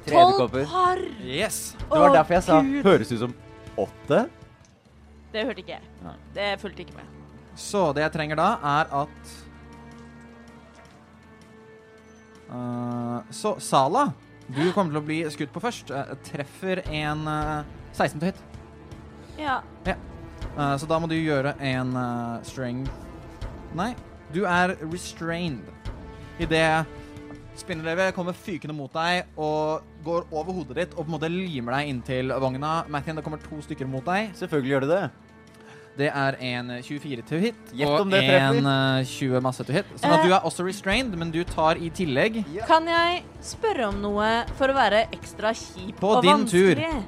S3: Tre edderkopper.
S4: Tolv par!
S2: Yes.
S3: Det var
S4: Å,
S3: derfor jeg sa
S4: Gud.
S3: høres ut som åtte.
S4: Det hørte ikke jeg.
S3: Nei.
S4: Det fulgte ikke med.
S2: Så det jeg trenger da, er at Eh, Så Sala, du kommer til å bli skutt på først. Eh, treffer en eh, 16 til hit.
S4: Ja.
S2: Eh, så da må du gjøre en eh, strength Nei, du er restrained. Idet spindelvevet kommer fykende mot deg og går over hodet ditt og på en måte limer deg inntil vogna. Mathien, det kommer to stykker mot deg.
S3: Selvfølgelig gjør det det.
S2: Det er en 24 to hit
S3: Gjett om
S2: og
S3: det Eh. treffer.
S2: en eh, 20 masse to hit. Sånn at du er også restrained, men du tar i tillegg
S4: Kan jeg spørre om noe for å være ekstra kjip
S2: På
S4: og
S2: din tur.
S4: vanskelig?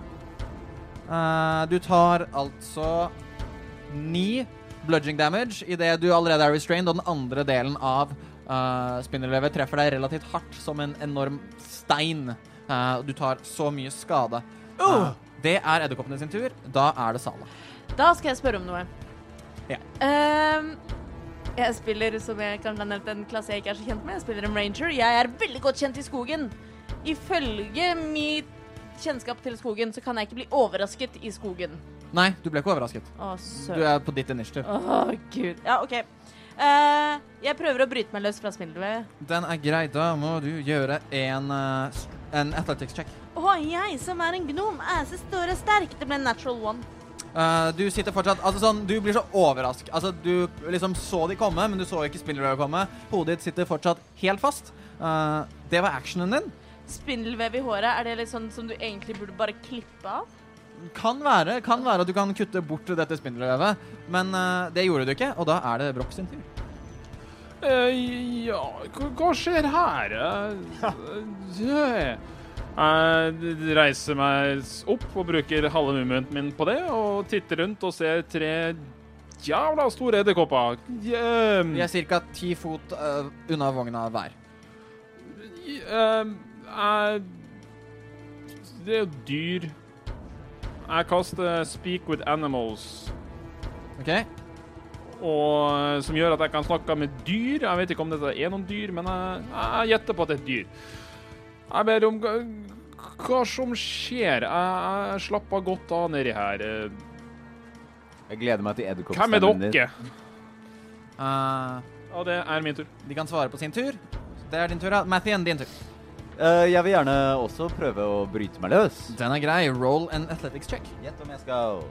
S2: eh, Du tar altså ni bludging damage idet du allerede er restrained, og den andre delen av eh, spindelvevet treffer deg relativt hardt som en enorm stein. Eh, og du tar så mye skade. Eh, det er edderkoppene sin tur. Da er det Sala.
S4: Da skal jeg spørre om noe.
S2: Ja.
S4: Ehm, jeg spiller, som jeg kanskje har nevnt, en klasse jeg ikke er så kjent med. Jeg spiller en ranger. Jeg er veldig godt kjent i skogen. Ifølge mitt kjennskap til skogen, så kan jeg ikke bli overrasket i skogen.
S2: Nei, du ble ikke overrasket.
S4: Å,
S2: Du
S4: søren.
S2: er på ditt initiativ.
S4: Å, gud. Ja, OK. Eh, jeg prøver å bryte meg løs fra spindelvevet.
S2: Den er grei. Da må du gjøre en, eh, st- en athletics check.
S4: Å, jeg som er en gnom, er så stor og sterk. Det ble en natural one.
S2: Eh, du sitter fortsatt Altså sånn, du blir så overrasket. Altså, du liksom så de komme, men du så ikke spillerøret komme. Hodet ditt sitter fortsatt helt fast. Eh, det var actionen din.
S4: Spindelvev i håret, er det litt sånn som du egentlig burde bare klippe av?
S2: Kan være, kan være at du kan kutte bort dette spindelvevet, men eh, det gjorde du ikke, og da er det Broch sin tur.
S5: Eh, ja, hva, hva skjer her? Eh, eh, Jeg reiser meg s- opp og bruker halve movementen min på det, og titter rundt og ser tre jævla store edderkopper. Ehm,
S2: Vi er ca. ti fot eh, unna vogna hver.
S5: ehm, jeg Det er jo dyr. Jeg kaster Speak with Animals,
S2: OK?
S5: og, eh, som gjør at jeg kan snakke med dyr. Jeg vet ikke om dette er noen dyr, men jeg, jeg gjetter på at det er et dyr. Jeg ber om hva- hva som skjer. Jeg, jeg slapper godt av nedi her. Eh,
S3: Jeg gleder meg til
S5: Hvem er
S3: edderkoppstemmen
S5: dere?
S2: Eh,
S5: Ja, det er min tur.
S2: de kan svare på sin tur. Det er din tur, ja. Mathien, din tur.
S3: Eh, jeg vil gjerne også prøve å bryte meg løs.
S2: Den er grei. Roll an athletics check.
S3: Gjett om jeg skal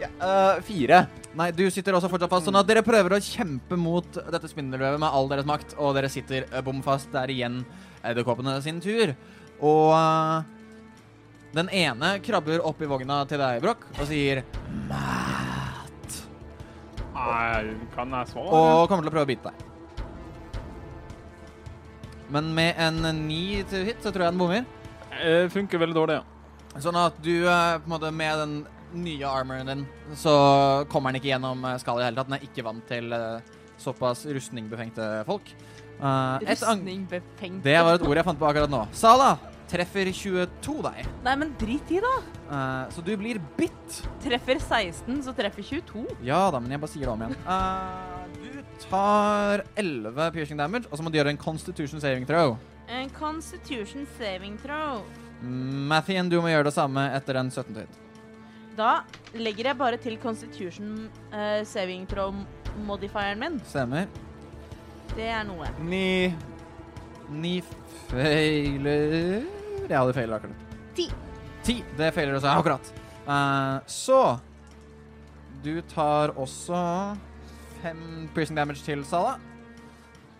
S3: ja, eh, Fire.
S2: Nei, du sitter også fortsatt fast, sånn at dere prøver å kjempe mot dette spindelvevet med all deres makt, og dere sitter eh, bom fast. Det er igjen edderkoppene sin tur. Og eh, den ene krabber opp i vogna til deg, Brokk, og sier
S5: Nei, kan jeg svare?
S2: Og kommer til å prøve å bite deg. Men med en ni til hit, så tror jeg den bommer.
S5: Eh, funker veldig dårlig, ja.
S2: Sånn at du eh, på en måte med den nye armoren din, så kommer den ikke gjennom eh, skallet i det hele tatt. Den er ikke vant til eh, såpass rustningbefengte folk. Eh, et ang-
S4: Rustning befengt.
S2: det var et ord jeg fant på akkurat nå. Sala treffer 22 deg,
S4: Nei, men drit i, da.
S2: Eh, så du blir bitt.
S4: Treffer 16, så treffer 22.
S2: Ja da, men jeg bare sier det om igjen. Eh, du tar 11 piercing damage, og så må du gjøre en constitution saving throw.
S4: En constitution saving throw.
S2: Mathien, du må gjøre det samme etter en 17 hit.
S4: Da legger jeg bare til constitution eh, saving throw-modifieren min.
S2: Stemmer.
S4: Det er noe.
S3: Ni.
S2: Ni feiler Ja, det feiler akkurat.
S4: Ti.
S2: Ti. Det feiler også. Akkurat. Eh, så Du tar også fem piercing damage til Sala.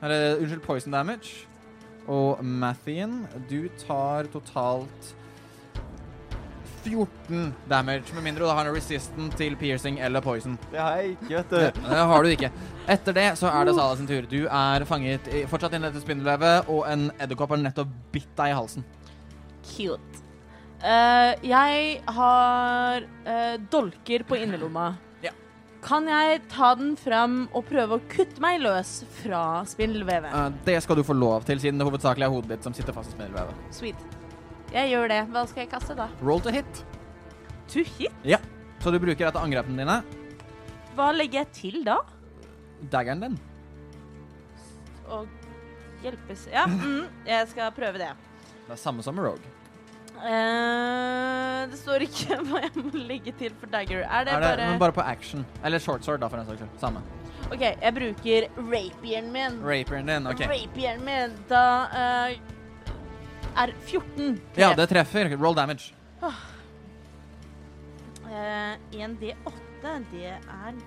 S2: Eller unnskyld, poison damage. Og Mathien, du tar totalt 14 damage, med mindre du har en resistant til piercing eller poison.
S3: Det har jeg ikke, vet du.
S2: Det har du ikke. Etter det så er det Salas sin tur. Du er fanget i, fortsatt i dette spindelvevet, og en edderkopp har nettopp bitt deg i halsen.
S4: Cute. Eh, jeg har eh, dolker på innerlomma.
S2: Ja.
S4: Kan jeg ta den fram og prøve å kutte meg løs fra spindelvevet?
S2: Eh, det skal du få lov til, siden det hovedsakelig er hodet ditt som sitter fast i spindelvevet.
S4: Sweet. Jeg gjør det. Hva skal jeg kaste da?
S2: Roll to hit.
S4: To hit?
S2: Så du bruker et av angrepene dine.
S4: Hva legger jeg til da?
S2: Daggeren din.
S4: Å hjelpes Ja, mm, jeg skal prøve det.
S2: Det er samme som med Rogue.
S4: Eh, det står ikke [laughs] hva jeg må legge til for dagger. Er det,
S2: Er det,
S4: bare...
S2: Men bare på action. Eller short sword, da, for den saks skyld. Samme.
S4: OK, jeg bruker rapieren min.
S2: Rapieren din. OK.
S4: Rapieren min. Da eh, er 14 treff.
S2: Ja, det treffer. Roll damage.
S4: Eh, en D8, det er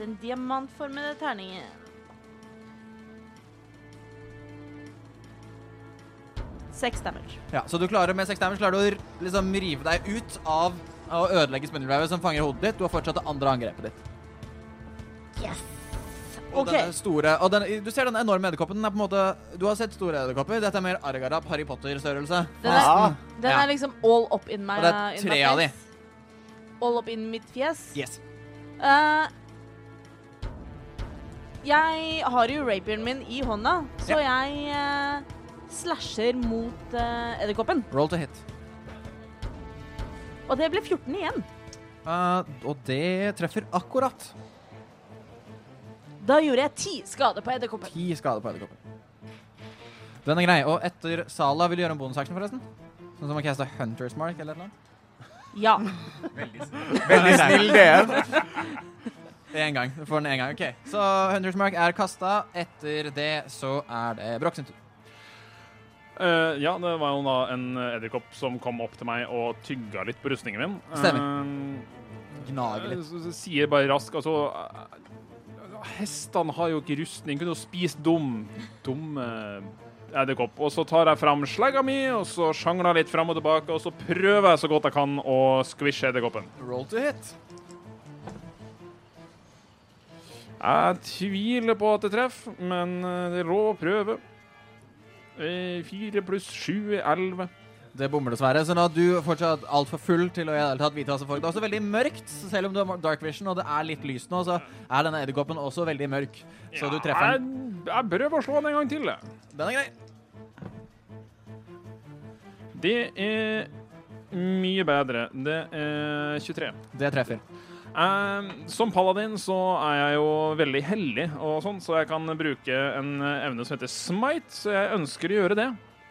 S4: den diamantformede terningen. Seks damage.
S2: Ja, Så du klarer med seks damage klarer du å r- liksom rive deg ut av å ødelegge spindelvevet som fanger hodet ditt. Du har fortsatt det andre angrepet ditt.
S4: Yes!
S2: Og
S4: OK.
S2: denne store og den, Du ser den enorme edderkoppen. Den er på en måte Du har sett store edderkopper. Dette er mer Argarap, Harry Potter-størrelse.
S4: Den er,
S3: Ja.
S4: den
S2: Ja.
S4: er liksom all up in my
S2: Og det er
S4: in my
S2: tre av de.
S4: face. All up in mitt fjes.
S2: Yes.
S4: Eh, jeg har jo rapieren min i hånda, så jeg eh, slasher mot eh, edderkoppen.
S2: Roll to hit.
S4: Og det ble 14 igjen.
S2: Eh, og det treffer akkurat
S4: Da gjorde jeg 10 skader på edderkoppen.
S2: ti skader på edderkoppen. Den er grei. Og etter Sala vil du gjøre en bonusaction, forresten? Sånn som å caste Hunter's Mark eller noe?
S4: Ja.
S3: Veldig snill DM.
S2: Én gang. Du får den én gang. OK. Så Hunter's Mark er kasta. Etter det så er det Broch sin tur.
S5: Eh, ja, det var jo da en edderkopp som kom opp til meg og tygga litt på rustningen min. Eh,
S2: Gnager litt.
S5: så- så Sier bare raskt, altså eh, Hestene har jo ikke rustning. Kunne jo spist dum, dum eh, edderkopp. Og så tar jeg fram slegga mi, og så sjangler jeg litt fram og tilbake, og så prøver jeg så godt jeg kan å squishe edderkoppen.
S2: Roll to hit.
S5: Jeg tviler på at det treffer, men eh, det er lov å prøve. Eh, Fire pluss sju er elleve.
S2: Det bommer dessverre. Så nå er du fortsatt altfor full til å i det hele tatt vite hva som foregår. Det er også veldig mørkt, så selv om du har dark vision og det er litt lyst nå, så er denne edderkoppen også veldig mørk. Så du treffer den.
S5: Jeg, jeg prøver å slå den en gang til. jeg.
S2: Den er grei.
S5: Det er mye bedre. Det er 23.
S2: Det treffer.
S5: Eh, som paladin så er jeg jo veldig heldig, og sånn, så jeg kan bruke en evne som heter smite, så jeg ønsker å gjøre det.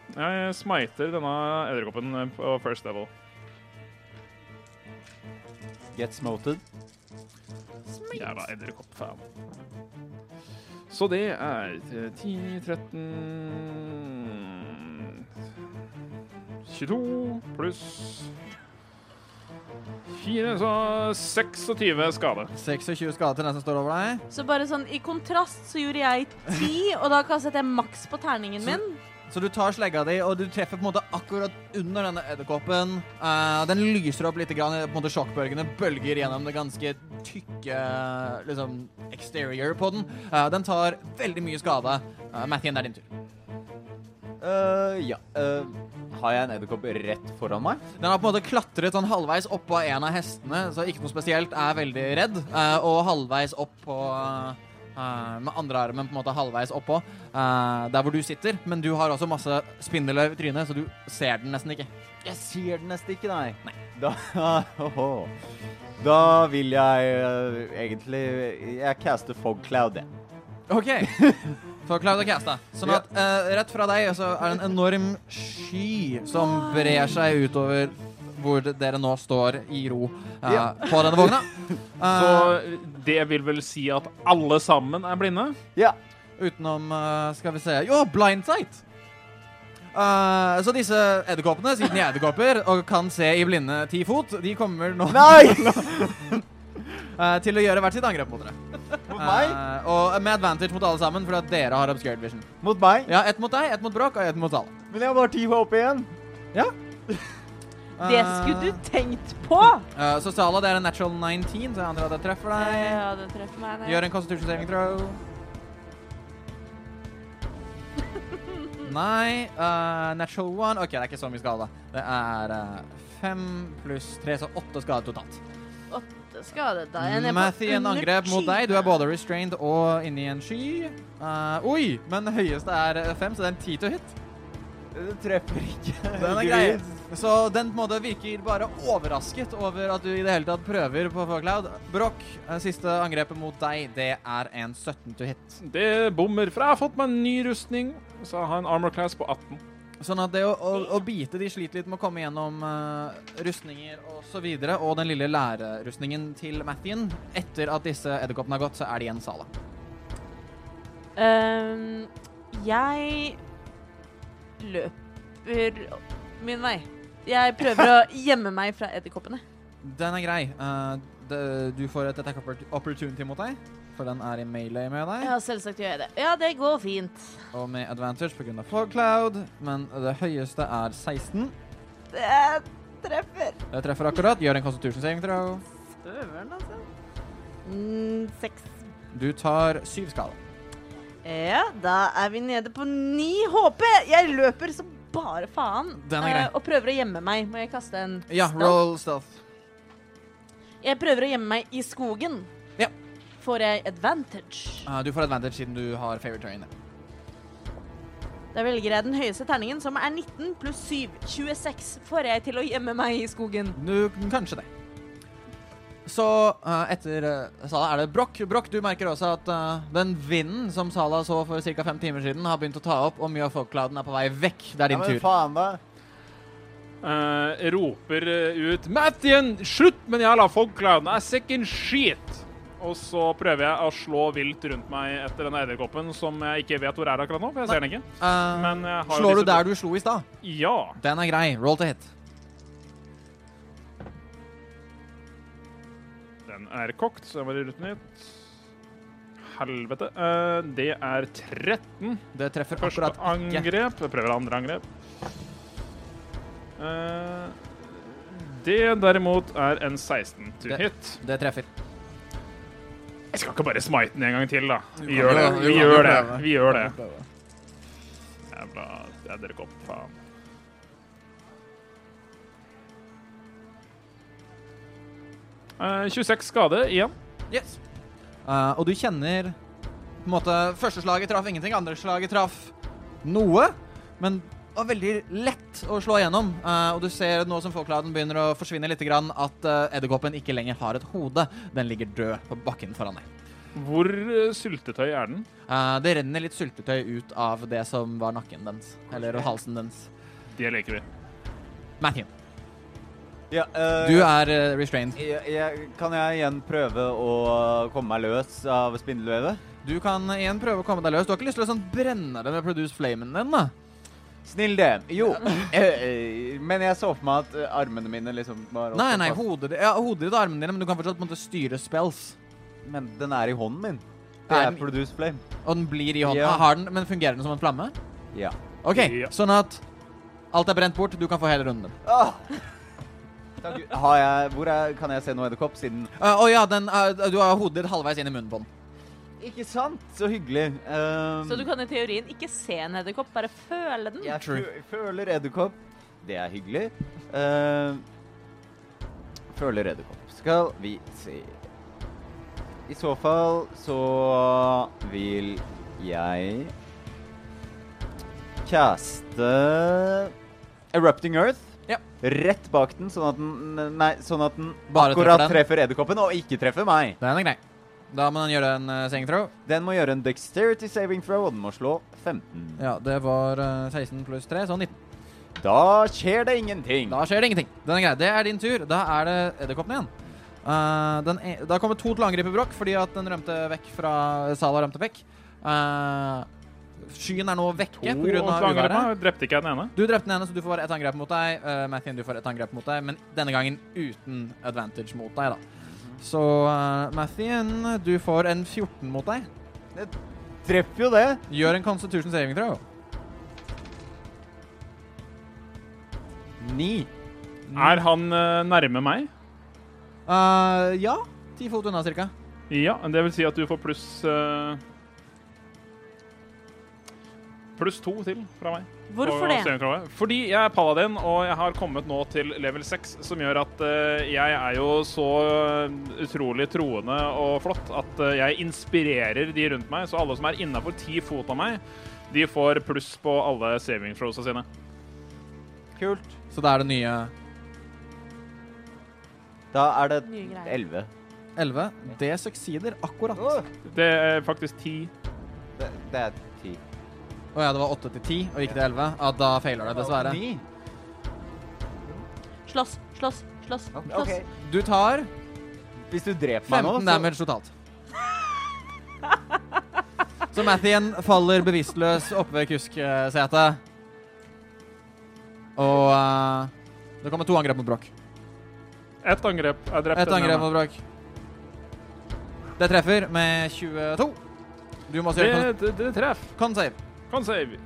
S5: Jeg smiter denne edderkoppen på first level.
S3: Get smoted.
S5: Jævla edderkoppfan. Så det er eh, 10, 13 22 pluss 4, så 26 skade.
S2: 26 skader til den som står over deg.
S4: Så bare sånn, I kontrast så gjorde jeg ti, og da kastet jeg maks på terningen min.
S2: Så du tar slegga di, og du treffer på en måte akkurat under denne edderkoppen. Eh, den lyser opp litt, grann, på en måte sjokkbølgene bølger gjennom det ganske tykke liksom, exterior på den. Eh, den tar veldig mye skade. Uh, Mathien, det er din tur.
S3: Eh, ja. eh, har jeg en edderkopp rett foran meg?
S2: Den har på en måte klatret sånn halvveis opp av en av hestene, så ikke noe spesielt, er veldig redd. eh, og halvveis opp på eh, Med andre armen på en måte halvveis oppå, eh, der hvor du sitter. Men du har også masse spindelvev i trynet, så du ser den nesten ikke.
S3: Jeg ser den nesten ikke, nei. Da, [laughs] Åhå. da vil jeg eh, egentlig Jeg caster fog cloud, jeg.
S2: OK. [laughs] For Cloud og Casta. Sånn at eh, rett fra deg så er det en enorm sky som brer seg utover hvor dere nå står i ro eh,
S3: Ja.
S2: på denne vogna.
S5: Så
S2: Eh,
S5: det vil vel si at alle sammen er blinde?
S3: Ja.
S2: Utenom eh, Skal vi se Jo, blindsight! Eh, så disse edderkoppene, siden de er edderkopper og kan se i blinde ti fot, de kommer nå
S3: [laughs] Nei!
S2: eh, til å gjøre hvert sitt angrep mot dere.
S3: Mot meg?
S2: Eh, og med advantage mot alle sammen, fordi at dere har obscured vision.
S3: Mot meg?
S2: Ja, ett mot deg, ett mot Bråk og ett mot alle.
S3: Men jeg har bare ti HP igjen.
S4: Det
S2: Eh,
S4: skulle du tenkt på!
S2: Eh, så Sala, det er en natural 19, så jeg antar at jeg treffer deg.
S4: Ja, det treffer meg. det.
S2: Gjør en constitution saving throw. Nei. eh, natural 1 OK, det er ikke så mye skade. Det er eh, fem pluss tre, så åtte skader totalt.
S4: Åtte skade. Da er jeg nede på
S2: Mathien
S4: under
S2: angrep mot
S4: 10.
S2: deg. Du er både restrained og inni en sky. Eh, oi! Men det høyeste er eh, fem, så det er en ti to hit.
S3: Det treffer ikke.
S2: Den er grei. Så den på en måte virker bare overrasket over at du i det hele tatt prøver på Fogcloud. Broch, eh, siste angrepet mot deg, det er en 17 to hit.
S5: Det bommer, for jeg har fått meg en ny rustning. Så jeg har en armor class på 18.
S2: Sånn at det å, å, å bite de sliter litt med å komme gjennom eh, rustninger og så videre, og den lille lærerustningen til Mathien. Etter at disse edderkoppene har gått, så er det igjen Sala.
S4: Ehm, jeg løper min vei. Jeg prøver
S2: [laughs]
S4: å gjemme meg fra edderkoppene.
S2: Den er grei. Eh, det, du får et attack oppor- opportunity mot deg, for den er i melee med deg.
S4: Ja, selvsagt gjør jeg det. Ja, det går fint.
S2: Og med advantage pga. Fogcloud, men det høyeste er 16.
S4: Det treffer.
S2: Jeg treffer akkurat. Gjør en constitution saving throw.
S4: Støvelen, altså. Mm, seks.
S2: Du tar syv skade.
S4: Ja, da er vi nede på ni HP. Jeg løper som bare faen.
S2: Den er grei.
S4: Eh, og prøver å gjemme meg. Må jeg kaste en
S2: Ja,
S4: stealth?
S2: roll stealth.
S4: Jeg prøver å gjemme meg i skogen.
S2: Ja.
S4: Får jeg advantage?
S2: Ah, du får advantage siden du har favorite terrain.
S4: Da velger jeg den høyeste terningen, som er 19 pluss 7. 26 får jeg til å gjemme meg i skogen.
S2: Du, kanskje det. Så eh, etter eh, Sala er det Broch. Broch, du merker også at eh, den vinden som Sala så for ca. fem timer siden, har begynt å ta opp, og mye av folkclouden er på vei vekk. Det er
S3: Ja,
S2: din
S3: men
S2: tur.
S3: faen, da.
S5: Eh, roper eh, ut Mathien, slutt med den jævla fogclouden! Jeg ser ikke en skit! Og så prøver jeg å slå vilt rundt meg etter den edderkoppen som jeg ikke vet hvor er akkurat nå, for jeg ser den ikke.
S2: Eh,
S5: Men jeg har
S2: slår du der du slo i stad?
S5: Ja.
S2: Den er grei. Roll to hit.
S5: Den er kokt, så jeg må rydde den ut. Helvete. Eh, det er 13.
S2: Det treffer
S5: Første
S2: akkurat ikke.
S5: angrep. Jeg prøver andre angrep. Eh, det derimot er en 16 to
S2: Det-
S5: hit.
S2: Det treffer.
S5: Jeg skal ikke bare smite den en gang til, da.
S2: kan
S5: Vi gjør det.
S2: prøve, du
S5: Vi
S2: kan
S5: gjør det.
S2: prøve.
S5: Vi gjør det. Jeg jævla edderkopp. Faen. Eh, 26 skade igjen.
S2: Yes. Eh, og du kjenner på en måte Første slaget traff ingenting, andre slaget traff noe. Men det var veldig lett å slå igjennom. Eh, og du ser nå som folkladen begynner å forsvinne litt, grann, at eh, edderkoppen ikke lenger har et hode. Den ligger død på bakken foran deg.
S5: Hvor eh, syltetøy er den?
S2: Eh, det renner litt syltetøy ut av det som var nakken dens. Eller halsen dens.
S5: Det leker vi.
S2: Matthew,
S3: Ja, eh,
S2: du er eh, restrained.
S3: jeg, jeg, kan jeg igjen prøve å komme meg løs av spindelvevet?
S2: Du kan igjen prøve å komme deg løs. Du har ikke lyst til å sånn brenne det med produce flamen din, da?
S3: Snill det. Jo. [laughs] eh, eh, men jeg så for meg at eh, armene mine liksom var
S2: Nei, nei,
S3: fast.
S2: hodet, ja, hodet ditt og armene dine, men du kan fortsatt på en måte styre spells.
S3: Men den er i hånden min. Det
S2: Er
S3: er
S2: den-
S3: produce flame.
S2: Og den blir i hånda.
S3: Ja.
S2: Har den, men fungerer den som en flamme?
S3: Ja.
S2: OK,
S5: Ja.
S2: sånn at alt er brent bort. Du kan få hele runden.
S3: Ah! Takk Gud. Har jeg, hvor er, kan jeg se noe edderkopp siden
S2: Eh, Å ja, den, eh, du har hodet ditt halvveis inn i munnen på den.
S3: Ikke sant? Så hyggelig. Um,
S4: Så du kan i teorien ikke se en edderkopp, bare føle den.
S3: Jeg
S2: True.
S3: fø- føler edderkopp. Det er hyggelig. Um, føler edderkopp. Skal vi se I så fall så vil jeg caste Erupting Earth.
S2: Ja.
S3: Rett bak den, sånn at den, nei, sånn at den
S2: Bare treffer
S3: akkurat
S2: den.
S3: treffer edderkoppen og ikke treffer meg.
S2: Den er grei. Da må den gjøre en uh, saving throw.
S3: Den må gjøre en dexterity saving throw, og den må slå 15.
S2: Ja, det var eh, 16 pluss 3, så 19.
S3: Da skjer det ingenting.
S2: Da skjer det ingenting. Den er grei. Det er din tur. Da er det edderkoppen igjen. Eh, den e da kommer to til å angripe Brokk fordi at den rømte vekk fra Sala rømte vekk. Eh, skyen er nå vekke
S5: To
S2: pga.
S5: slanger
S2: uværet.
S5: på. Drepte ikke jeg den ene?
S2: Du drepte den ene, så du får et angrep mot deg. Uh, Mathien, du får et angrep mot deg, men denne gangen uten advantage mot deg, da. Så uh, Mathien, du får en 14 mot deg.
S3: Treffer jo det.
S2: Gjør en Constitution saving throw.
S3: Ni.
S5: Er han eh, nærme meg?
S2: Uh, ja. Ti fot unna, cirka.
S5: Ja, det vil si at du får pluss eh, Pluss to til fra meg.
S4: Hvorfor
S5: på
S4: det?
S5: styrkekravet. Fordi jeg er paladin, og jeg har kommet nå til level 6, som gjør at eh, jeg er jo så eh, utrolig troende og flott at eh, jeg inspirerer de rundt meg, så alle som er innafor ti fot av meg, de får pluss på alle saving throwsa sine.
S3: Kult.
S2: Så da er det nye
S3: Da er det
S4: Nye greier.
S3: elleve.
S2: 11. Det succeeder akkurat. Å
S5: Det er faktisk ti.
S3: Det, det er ti.
S2: ja, det var 8 til 10, og ikke til 11. Ja, da feiler det, dessverre.
S3: Ni.
S4: Slåss, slåss, slåss, slåss.
S3: Ok.
S2: Du tar
S3: Hvis du dreper meg nå,
S2: 15 damage totalt. Så Mathien faller bevisstløs oppe ved kusksetet. Og eh, det kommer to angrep mot Broch.
S5: Ett angrep er drept.
S2: Ett
S5: den
S2: angrep
S5: ene.
S2: mot Broch. Det treffer med 22. Du må også
S5: det,
S2: gjøre
S5: det, det treffer.
S2: con- con save.
S5: Con save.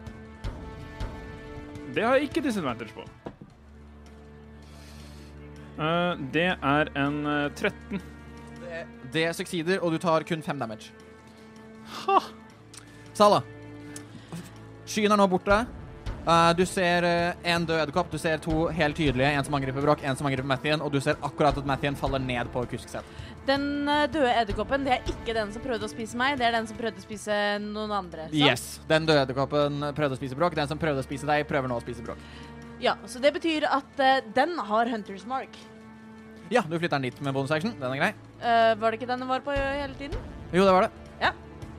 S5: Det har jeg ikke disadvantage på. Eh, det er en eh, 13.
S2: Det succeeder, og du tar kun 5 damage. Sala. Skyen er nå borte. Eh, du ser eh, en død edderkopp, du ser to helt tydelige. En som angriper Broch, en som angriper Mathien, og du ser akkurat at Mathien faller ned på kuskset.
S4: Den eh, døde edderkoppen, det er ikke den som prøvde å spise meg, det er den som prøvde å spise noen andre. sant?
S2: Yes. Den døde edderkoppen prøvde å spise Broch. Den som prøvde å spise deg, prøver nå å spise Broch.
S4: Ja, så det betyr at eh, den har Hunter's Mark.
S2: Ja, du flytter den dit med bonus action. Den er grei.
S4: Eh, var det ikke den den var på hele tiden?
S2: Jo, det var det.
S4: Ja.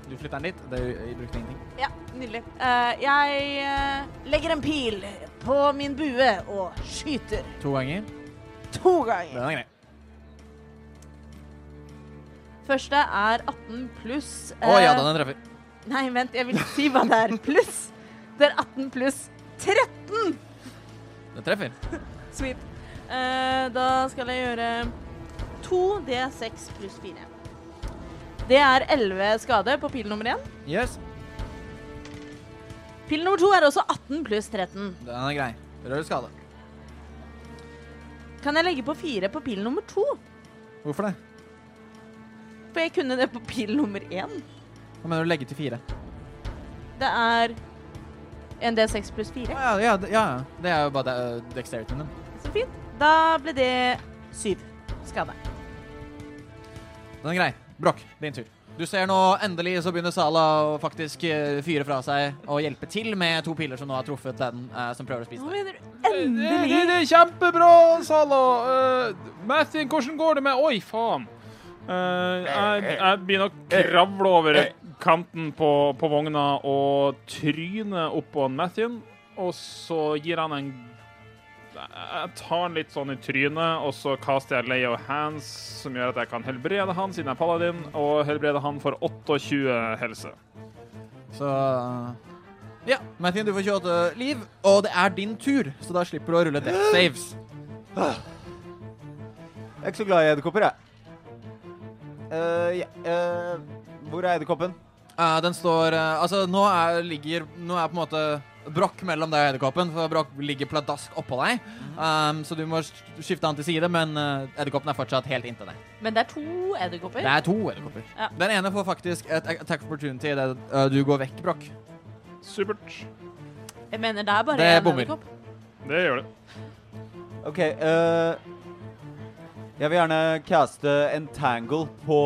S2: Du flytter den dit. Det jeg brukte ingenting.
S4: Ja, nydelig. Eh, jeg eh, legger en pil på min bue og skyter
S2: To ganger.
S4: to ganger.
S2: Den er grei.
S4: Første er 18 pluss
S2: Å ja,
S4: eh,
S2: da, den treffer.
S4: Nei, vent, jeg vil ikke si hva det er. Pluss. Det er 18 pluss 13.
S2: Den treffer.
S4: Sweet. Eh, da skal jeg gjøre 2D6 pluss 4. Det er 11 skade på pil nummer 1.
S2: Yes.
S4: Pil nummer 2 er også 18 pluss 13.
S2: Den er grei. Rød skade.
S4: Kan jeg legge på 4 på pil nummer 2?
S2: Hvorfor det?
S4: For jeg kunne det på pil nummer 1.
S2: Hva mener du legge til fire?
S4: Det er En D6 pluss 4.
S2: Ja, ja, ja, ja. Det er jo bare de- dexterityen din.
S4: Så fint. Da ble det 7 skade.
S2: Den er grei. Brokk, din tur. Du ser nå endelig så begynner Sala å faktisk eh, fyre fra seg og hjelpe til med to piler som nå har truffet den eh, som prøver å spise
S4: Hva
S2: deg.
S4: mener du?
S5: Det, det,
S4: Endelig!
S5: det er kjempebra, Sala. Uh, Mathin, hvordan går det med Oi, faen. Eh, jeg, jeg begynner å kravle over kanten på, på vogna og tryne oppå Mathin. Og så gir han en Jeg tar han litt sånn i trynet, og så kaster jeg lay of hands, som gjør at jeg kan helbrede han, siden jeg er paladin, og helbrede han for 28 helse.
S2: Så Ja, Matthew, du får 28 liv, og det er din tur, så da slipper du å rulle death saves.
S3: Jeg er ikke så glad i edderkopper, jeg. Eh, ja, eh, hvor er edderkoppen?
S2: Eh, den står eh, Altså, nå er, ligger Nå er på en måte Brokk mellom deg og edderkoppen, for Brokk ligger pladask oppå deg. Um, så du må sk- skifte han til side, men eh, edderkoppen er fortsatt helt inntil deg.
S4: Men det er to edderkopper.
S2: Det er to edderkopper.
S4: Ja.
S2: Den ene får faktisk et attack of opportunity idet eh, du går vekk, Brokk.
S5: Supert.
S4: Jeg mener det er bare
S2: Det
S4: én
S2: bommer.
S4: edderkopp.
S5: Det gjør det.
S3: OK eh, Jeg vil gjerne caste Entangle på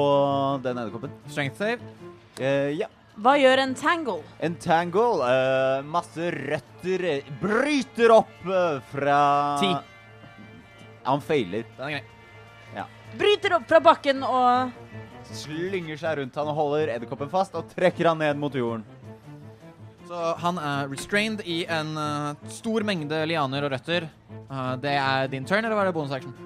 S3: den edderkoppen.
S2: Strength save.
S3: Eh, ja.
S4: Hva gjør en tangle?
S3: Entangle. eh, masse røtter eh, bryter opp eh, fra
S2: Ti.
S3: Han feiler.
S2: Den er grei.
S4: Bryter opp fra bakken og
S3: Slynger seg rundt han og holder edderkoppen fast og trekker han ned mot jorden.
S2: Så han er restrained i en eh, stor mengde lianer og røtter. Eh, det er din turn, eller var det bonus action?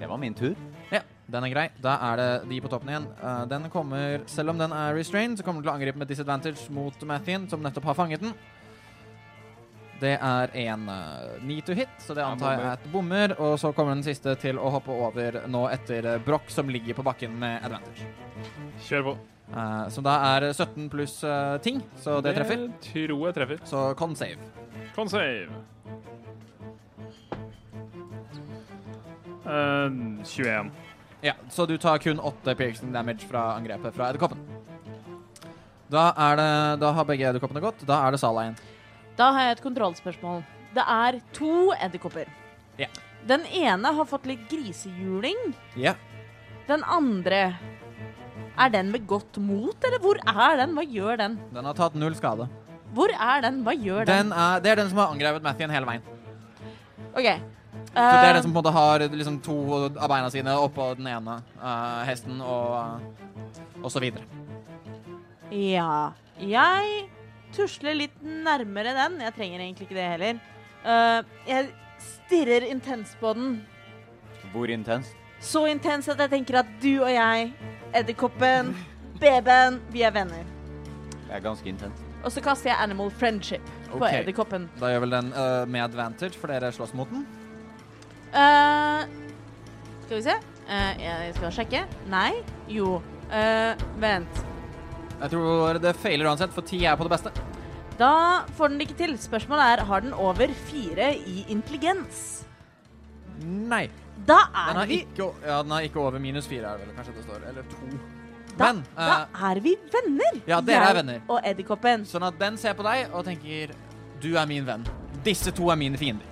S3: Det var min tur.
S2: Ja, den er grei. Da er det de på toppen igjen. Eh, den kommer, Selv om den er restrained, så kommer den til å angripe med disadvantage mot Mathien, som nettopp har fanget den. Det er en uh, ni to hit, så det antar jeg er et bommer. Og så kommer den siste til å hoppe over nå etter eh, Broch, som ligger på bakken med advantage.
S5: Kjør på.
S2: Eh, som da er 17 pluss eh, ting, så det treffer.
S5: tror jeg treffer.
S2: Så con save.
S5: Con save. Eh, 21.
S2: Ja, så du tar kun åtte piercing damage fra angrepet fra edderkoppen. Da, er det, da har begge edderkoppene gått. Da er det Sala igjen.
S4: Da har jeg et kontrollspørsmål. Det er to edderkopper.
S2: Ja.
S4: Den ene har fått litt grisehjuling.
S2: Ja.
S4: Den andre Er den med godt mot, eller hvor er den? Hva gjør den?
S2: Den har tatt null skade.
S4: Hvor er den? Hva gjør den?
S2: Den er, det er den som har angrepet Mathien hele veien.
S4: OK.
S2: Så Det er den
S4: Eh,
S2: som på en måte har liksom to av beina sine oppå den ene eh, hesten og, eh, og så videre.
S4: Eh, Ja. Jeg tusler litt nærmere den. Jeg trenger egentlig ikke det heller. Eh, jeg stirrer intenst på den.
S3: Hvor intens?
S4: Så intens at jeg tenker at du og jeg, edderkoppen, babyen, vi er venner.
S3: Det er ganske intens.
S4: Og så kaster jeg Animal Friendship på
S2: Ok.
S4: edderkoppen.
S2: Da gjør vel den eh, med advantage, for dere slåss mot den.
S4: Eh, skal vi se. Eh, jeg skal sjekke. Nei. Jo. Eh, vent.
S2: Jeg tror det feiler uansett, for ti er på det beste.
S4: Da får den det ikke til. Spørsmålet er har den over fire i intelligens.
S2: Nei.
S4: Da
S2: Den
S4: er
S2: har
S4: vi
S2: ikke, o- ja, den har ikke over minus fire, er det vel kanskje det står. Eller to.
S4: da,
S2: Men
S4: da
S2: eh,
S4: er vi venner.
S2: Ja, dere er
S4: Jeg
S2: venner.
S4: Og edderkoppen.
S2: Sånn at den ser på deg og tenker Du er min venn. Disse to er mine fiender.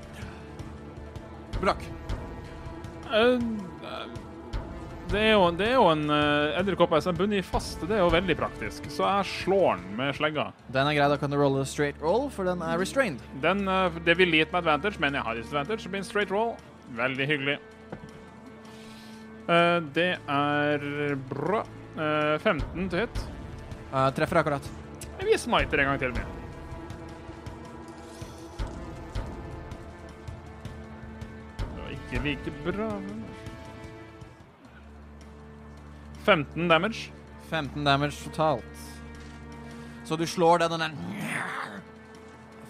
S2: Brakk.
S5: Eh, eh, det er jo, det er jo en eh, edderkopp som er bundet fast. Det er jo veldig praktisk. Så jeg slår den med slegga.
S2: Den er grei, da kan du rolle straight roll, for den er restrained.
S5: Den, eh, det ville gitt meg advantage, men jeg har disadvantage. Så blir en straight roll. Veldig hyggelig. Eh, det er bra. Eh, 15 til hit.
S2: Eh, treffer akkurat.
S5: Vi smiter en gang til med. Det var ikke like bra. men- 15 damage.
S2: 15 damage totalt. Så du slår den, og den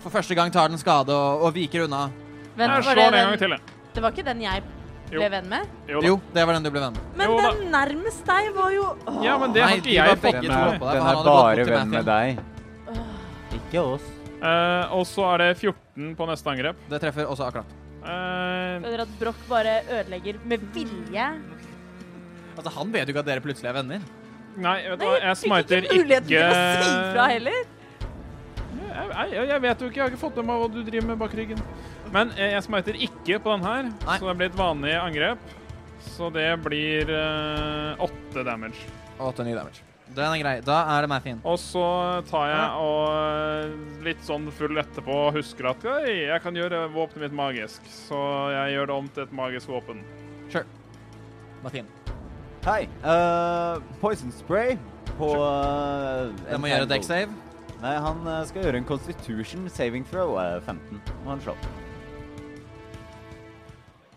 S2: For første gang tar den skade og, og viker unna.
S4: Vent,
S5: Jeg
S4: var
S5: slår
S4: det,
S5: den en gang
S4: den,
S5: til. jeg.
S4: det var ikke den jeg
S5: Jo.
S4: ble venn med?
S5: Jo da.
S2: Jo, det var den du ble venn med.
S4: Men
S5: Jo da.
S4: den nærmest deg var jo Åh.
S5: Ja, men det har
S2: Nei,
S5: ikke
S2: de
S5: jeg
S2: var
S5: fått
S2: begge
S5: med
S2: to
S5: meg.
S2: oppå der,
S3: Den
S2: for han
S3: er
S2: hadde gått
S3: bare
S2: bort til
S3: venn med
S2: Matthew.
S3: deg. Ikke oss.
S5: Eh, og så er det 14 på neste angrep.
S2: Det treffer også akkurat.
S5: Eh,
S4: Føler at Broch bare ødelegger med vilje.
S2: Altså, Han vet jo ikke at dere plutselig er venner.
S5: nei, vet du
S4: Nei,
S5: hva, jeg
S4: fikk
S5: smiter
S4: muligheten til å si ifra
S5: ikke
S4: heller.
S5: Jeg, Nei, jeg, jeg vet jo ikke. Jeg har ikke fått med meg hva du driver med bak ryggen. Men eh, jeg smiter ikke på den her,
S2: Nei.
S5: så det blir et vanlig angrep. Så det blir eh, åtte damage.
S2: Og 8 ny damage. Den er grei. Da er det meg fin.
S5: Og så tar jeg og litt sånn full etterpå husker at Oi, jeg kan gjøre våpenet mitt magisk. Så jeg gjør det om til et magisk våpen.
S2: Sure. Martin.
S3: Hei. eh, poison spray på uh,
S2: Den må gjøre deck save.
S3: Nei, han eh, skal gjøre en constitution saving throw. eh, 15 må han slå.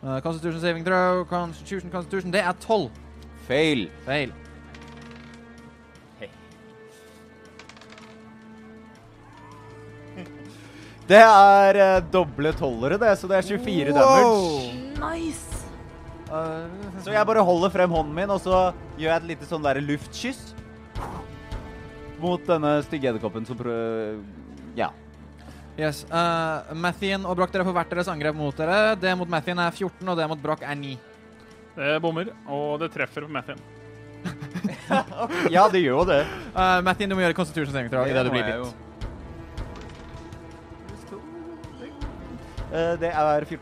S2: Eh, Constitution saving throw, constitution, constitution. Det er 12.
S3: Fail.
S2: Feil.
S3: Det er eh, doble tollere, det, så det er 24 damage.
S4: Nice!
S2: Eh,
S3: Så jeg bare holder frem hånden min, og så gjør jeg et lite sånn der luftkyss mot denne stygge edderkoppen som prøver Ja.
S2: Yes. eh, Mathien og Broch, dere får hvert deres angrep mot dere. Det mot Mathien er 14, og det mot Broch er 9.
S5: Det bommer, og det treffer på Mathien.
S3: Ja, det gjør jo det.
S2: Uh, Mathien, du må gjøre Constitution saving throw idet du blir bitt.
S3: Eh, Det er 14.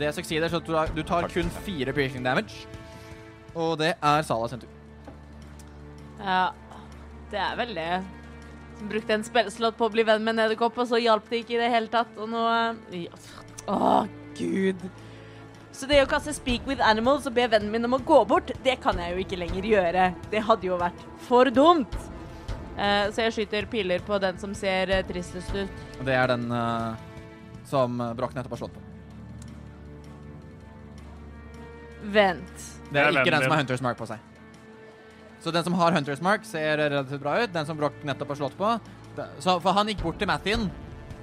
S2: Det succeeder, så du, du tar kun fire piercing damage. Og det er Salah sin tur.
S4: Ja, det er vel det. Som brukte en spillslott på å bli venn med en edderkopp, og så hjalp det ikke i det hele tatt. Og nå eh, ja, pff, Å, gud. Så det å kaste Speak with Animals og be vennen min om å gå bort, det kan jeg jo ikke lenger gjøre. Det hadde jo vært for dumt. Eh, så jeg skyter piler på den som ser eh, tristest ut.
S2: Og Det er den eh, som eh, Broch nettopp har slått på.
S4: Vent.
S2: Det er
S5: Det er
S2: ikke
S5: vennen
S2: den som
S5: din.
S2: har Hunters Mark på seg. Så den som har Hunters Mark, ser relativt bra ut. Den som Broch nettopp har slått på det- så, For han gikk bort til Mathien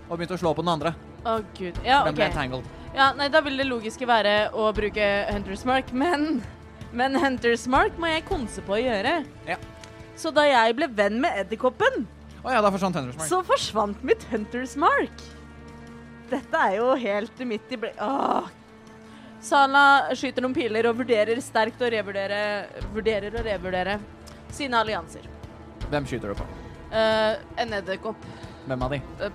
S2: og begynte å slå på den andre.
S4: Å, gud. Ja,
S2: Den ble
S4: Ah, OK.
S2: entangled.
S4: Ja, nei, da vil det logiske være å bruke Hunter's Mark, men Men Hunter's Mark må jeg konse på å gjøre.
S2: Ja.
S4: Så da jeg ble venn med edderkoppen,
S2: Å ja, da forsvant Hunters Mark.
S4: så forsvant mitt Hunter's Mark. Dette er jo helt midt i ble... Åh. Sala skyter noen piler og vurderer sterkt å revurdere Vurderer å revurdere sine allianser.
S2: Hvem skyter du på?
S4: Eh, en edderkopp.
S2: Hvem av de?
S4: Eh,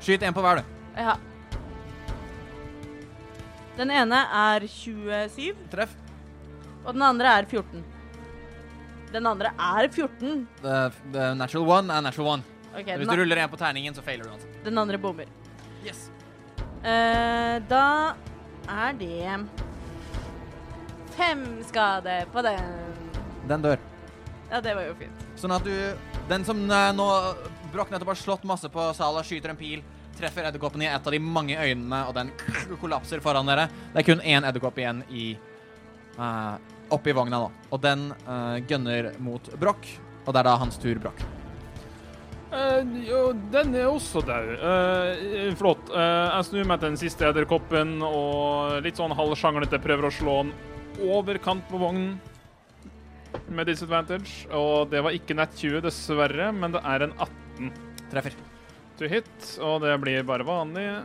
S2: Skyt en på hver, du.
S4: Ja. Den ene er 27.
S2: Treff.
S4: Og den andre er 14. Den andre er 14.
S2: The, the natural one er natural one.
S4: Ok,
S2: Hvis
S4: den,
S2: du
S4: a-
S2: ruller en på terningen, så failer du uansett.
S4: den andre bommer.
S2: Yes.
S4: Eh, da er det fem skade på den.
S2: Den dør.
S4: Ja, det var jo fint.
S2: Sånn at du Den som eh, nå Broch nettopp har slått masse på Sala, skyter en pil, treffer edderkoppen i et av de mange øynene, og den [laughs] kollapser foran dere. Det er kun én edderkopp igjen i eh, oppi vogna nå, og den eh, gønner mot Broch. Og det er da hans tur, Broch.
S5: Eh, jo, den er også død. Eh, flott. Eh, jeg snur meg til den siste edderkoppen og litt sånn halvsjanglete prøver å slå den over kant på vognen med disadvantage. Og det var ikke nett 20, dessverre, men det er en 18
S2: Treffer.
S5: to hit, og det blir bare vanlig.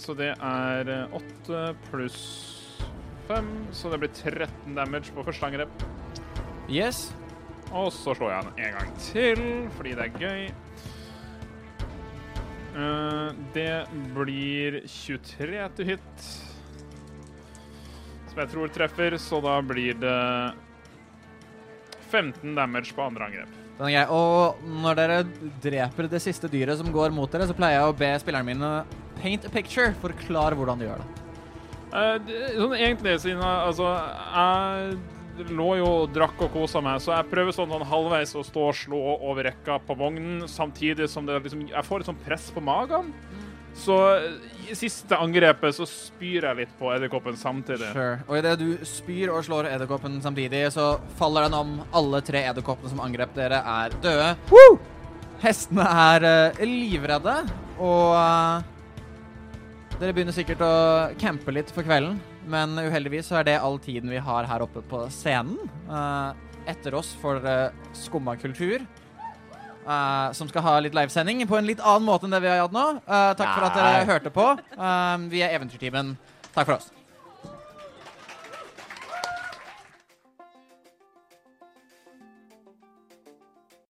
S5: Så det er eh, 8 pluss 5, så det blir 13 damage på første angrep.
S2: Yes.
S5: Og så slår jeg den en gang til, fordi det er gøy. Eh, det blir 23 til hit. Som jeg tror treffer, så da blir det 15 damage på andre angrep.
S2: Den er grei. Og når dere dreper det siste dyret som går mot dere, så pleier jeg å be spillerne mine paint a picture. Forklar hvordan du gjør det.
S5: Eh, det- sånn egentlig, siden jeg- altså Jeg lå jo og drakk og kosa meg, så jeg prøver sånn, sånn halvveis å stå og slå over rekka på vognen, samtidig som det liksom Jeg får et sånn press på magen. Så i siste angrepet så spyr jeg litt på edderkoppen samtidig.
S2: Sure. Og idet du spyr og slår edderkoppen samtidig, så faller den om. Alle tre edderkoppene som angrep dere, er døde. Hestene er eh, livredde, og eh, dere begynner sikkert å campe litt for kvelden. Men uheldigvis så er det all tiden vi har her oppe på scenen. Eh, etter oss for uh, Skumma kultur. eh, som skal ha litt livesending på en litt annen måte enn det vi har hatt nå. Eh, takk for at dere hørte på. Eh, vi er Eventyrtimen. Takk for oss.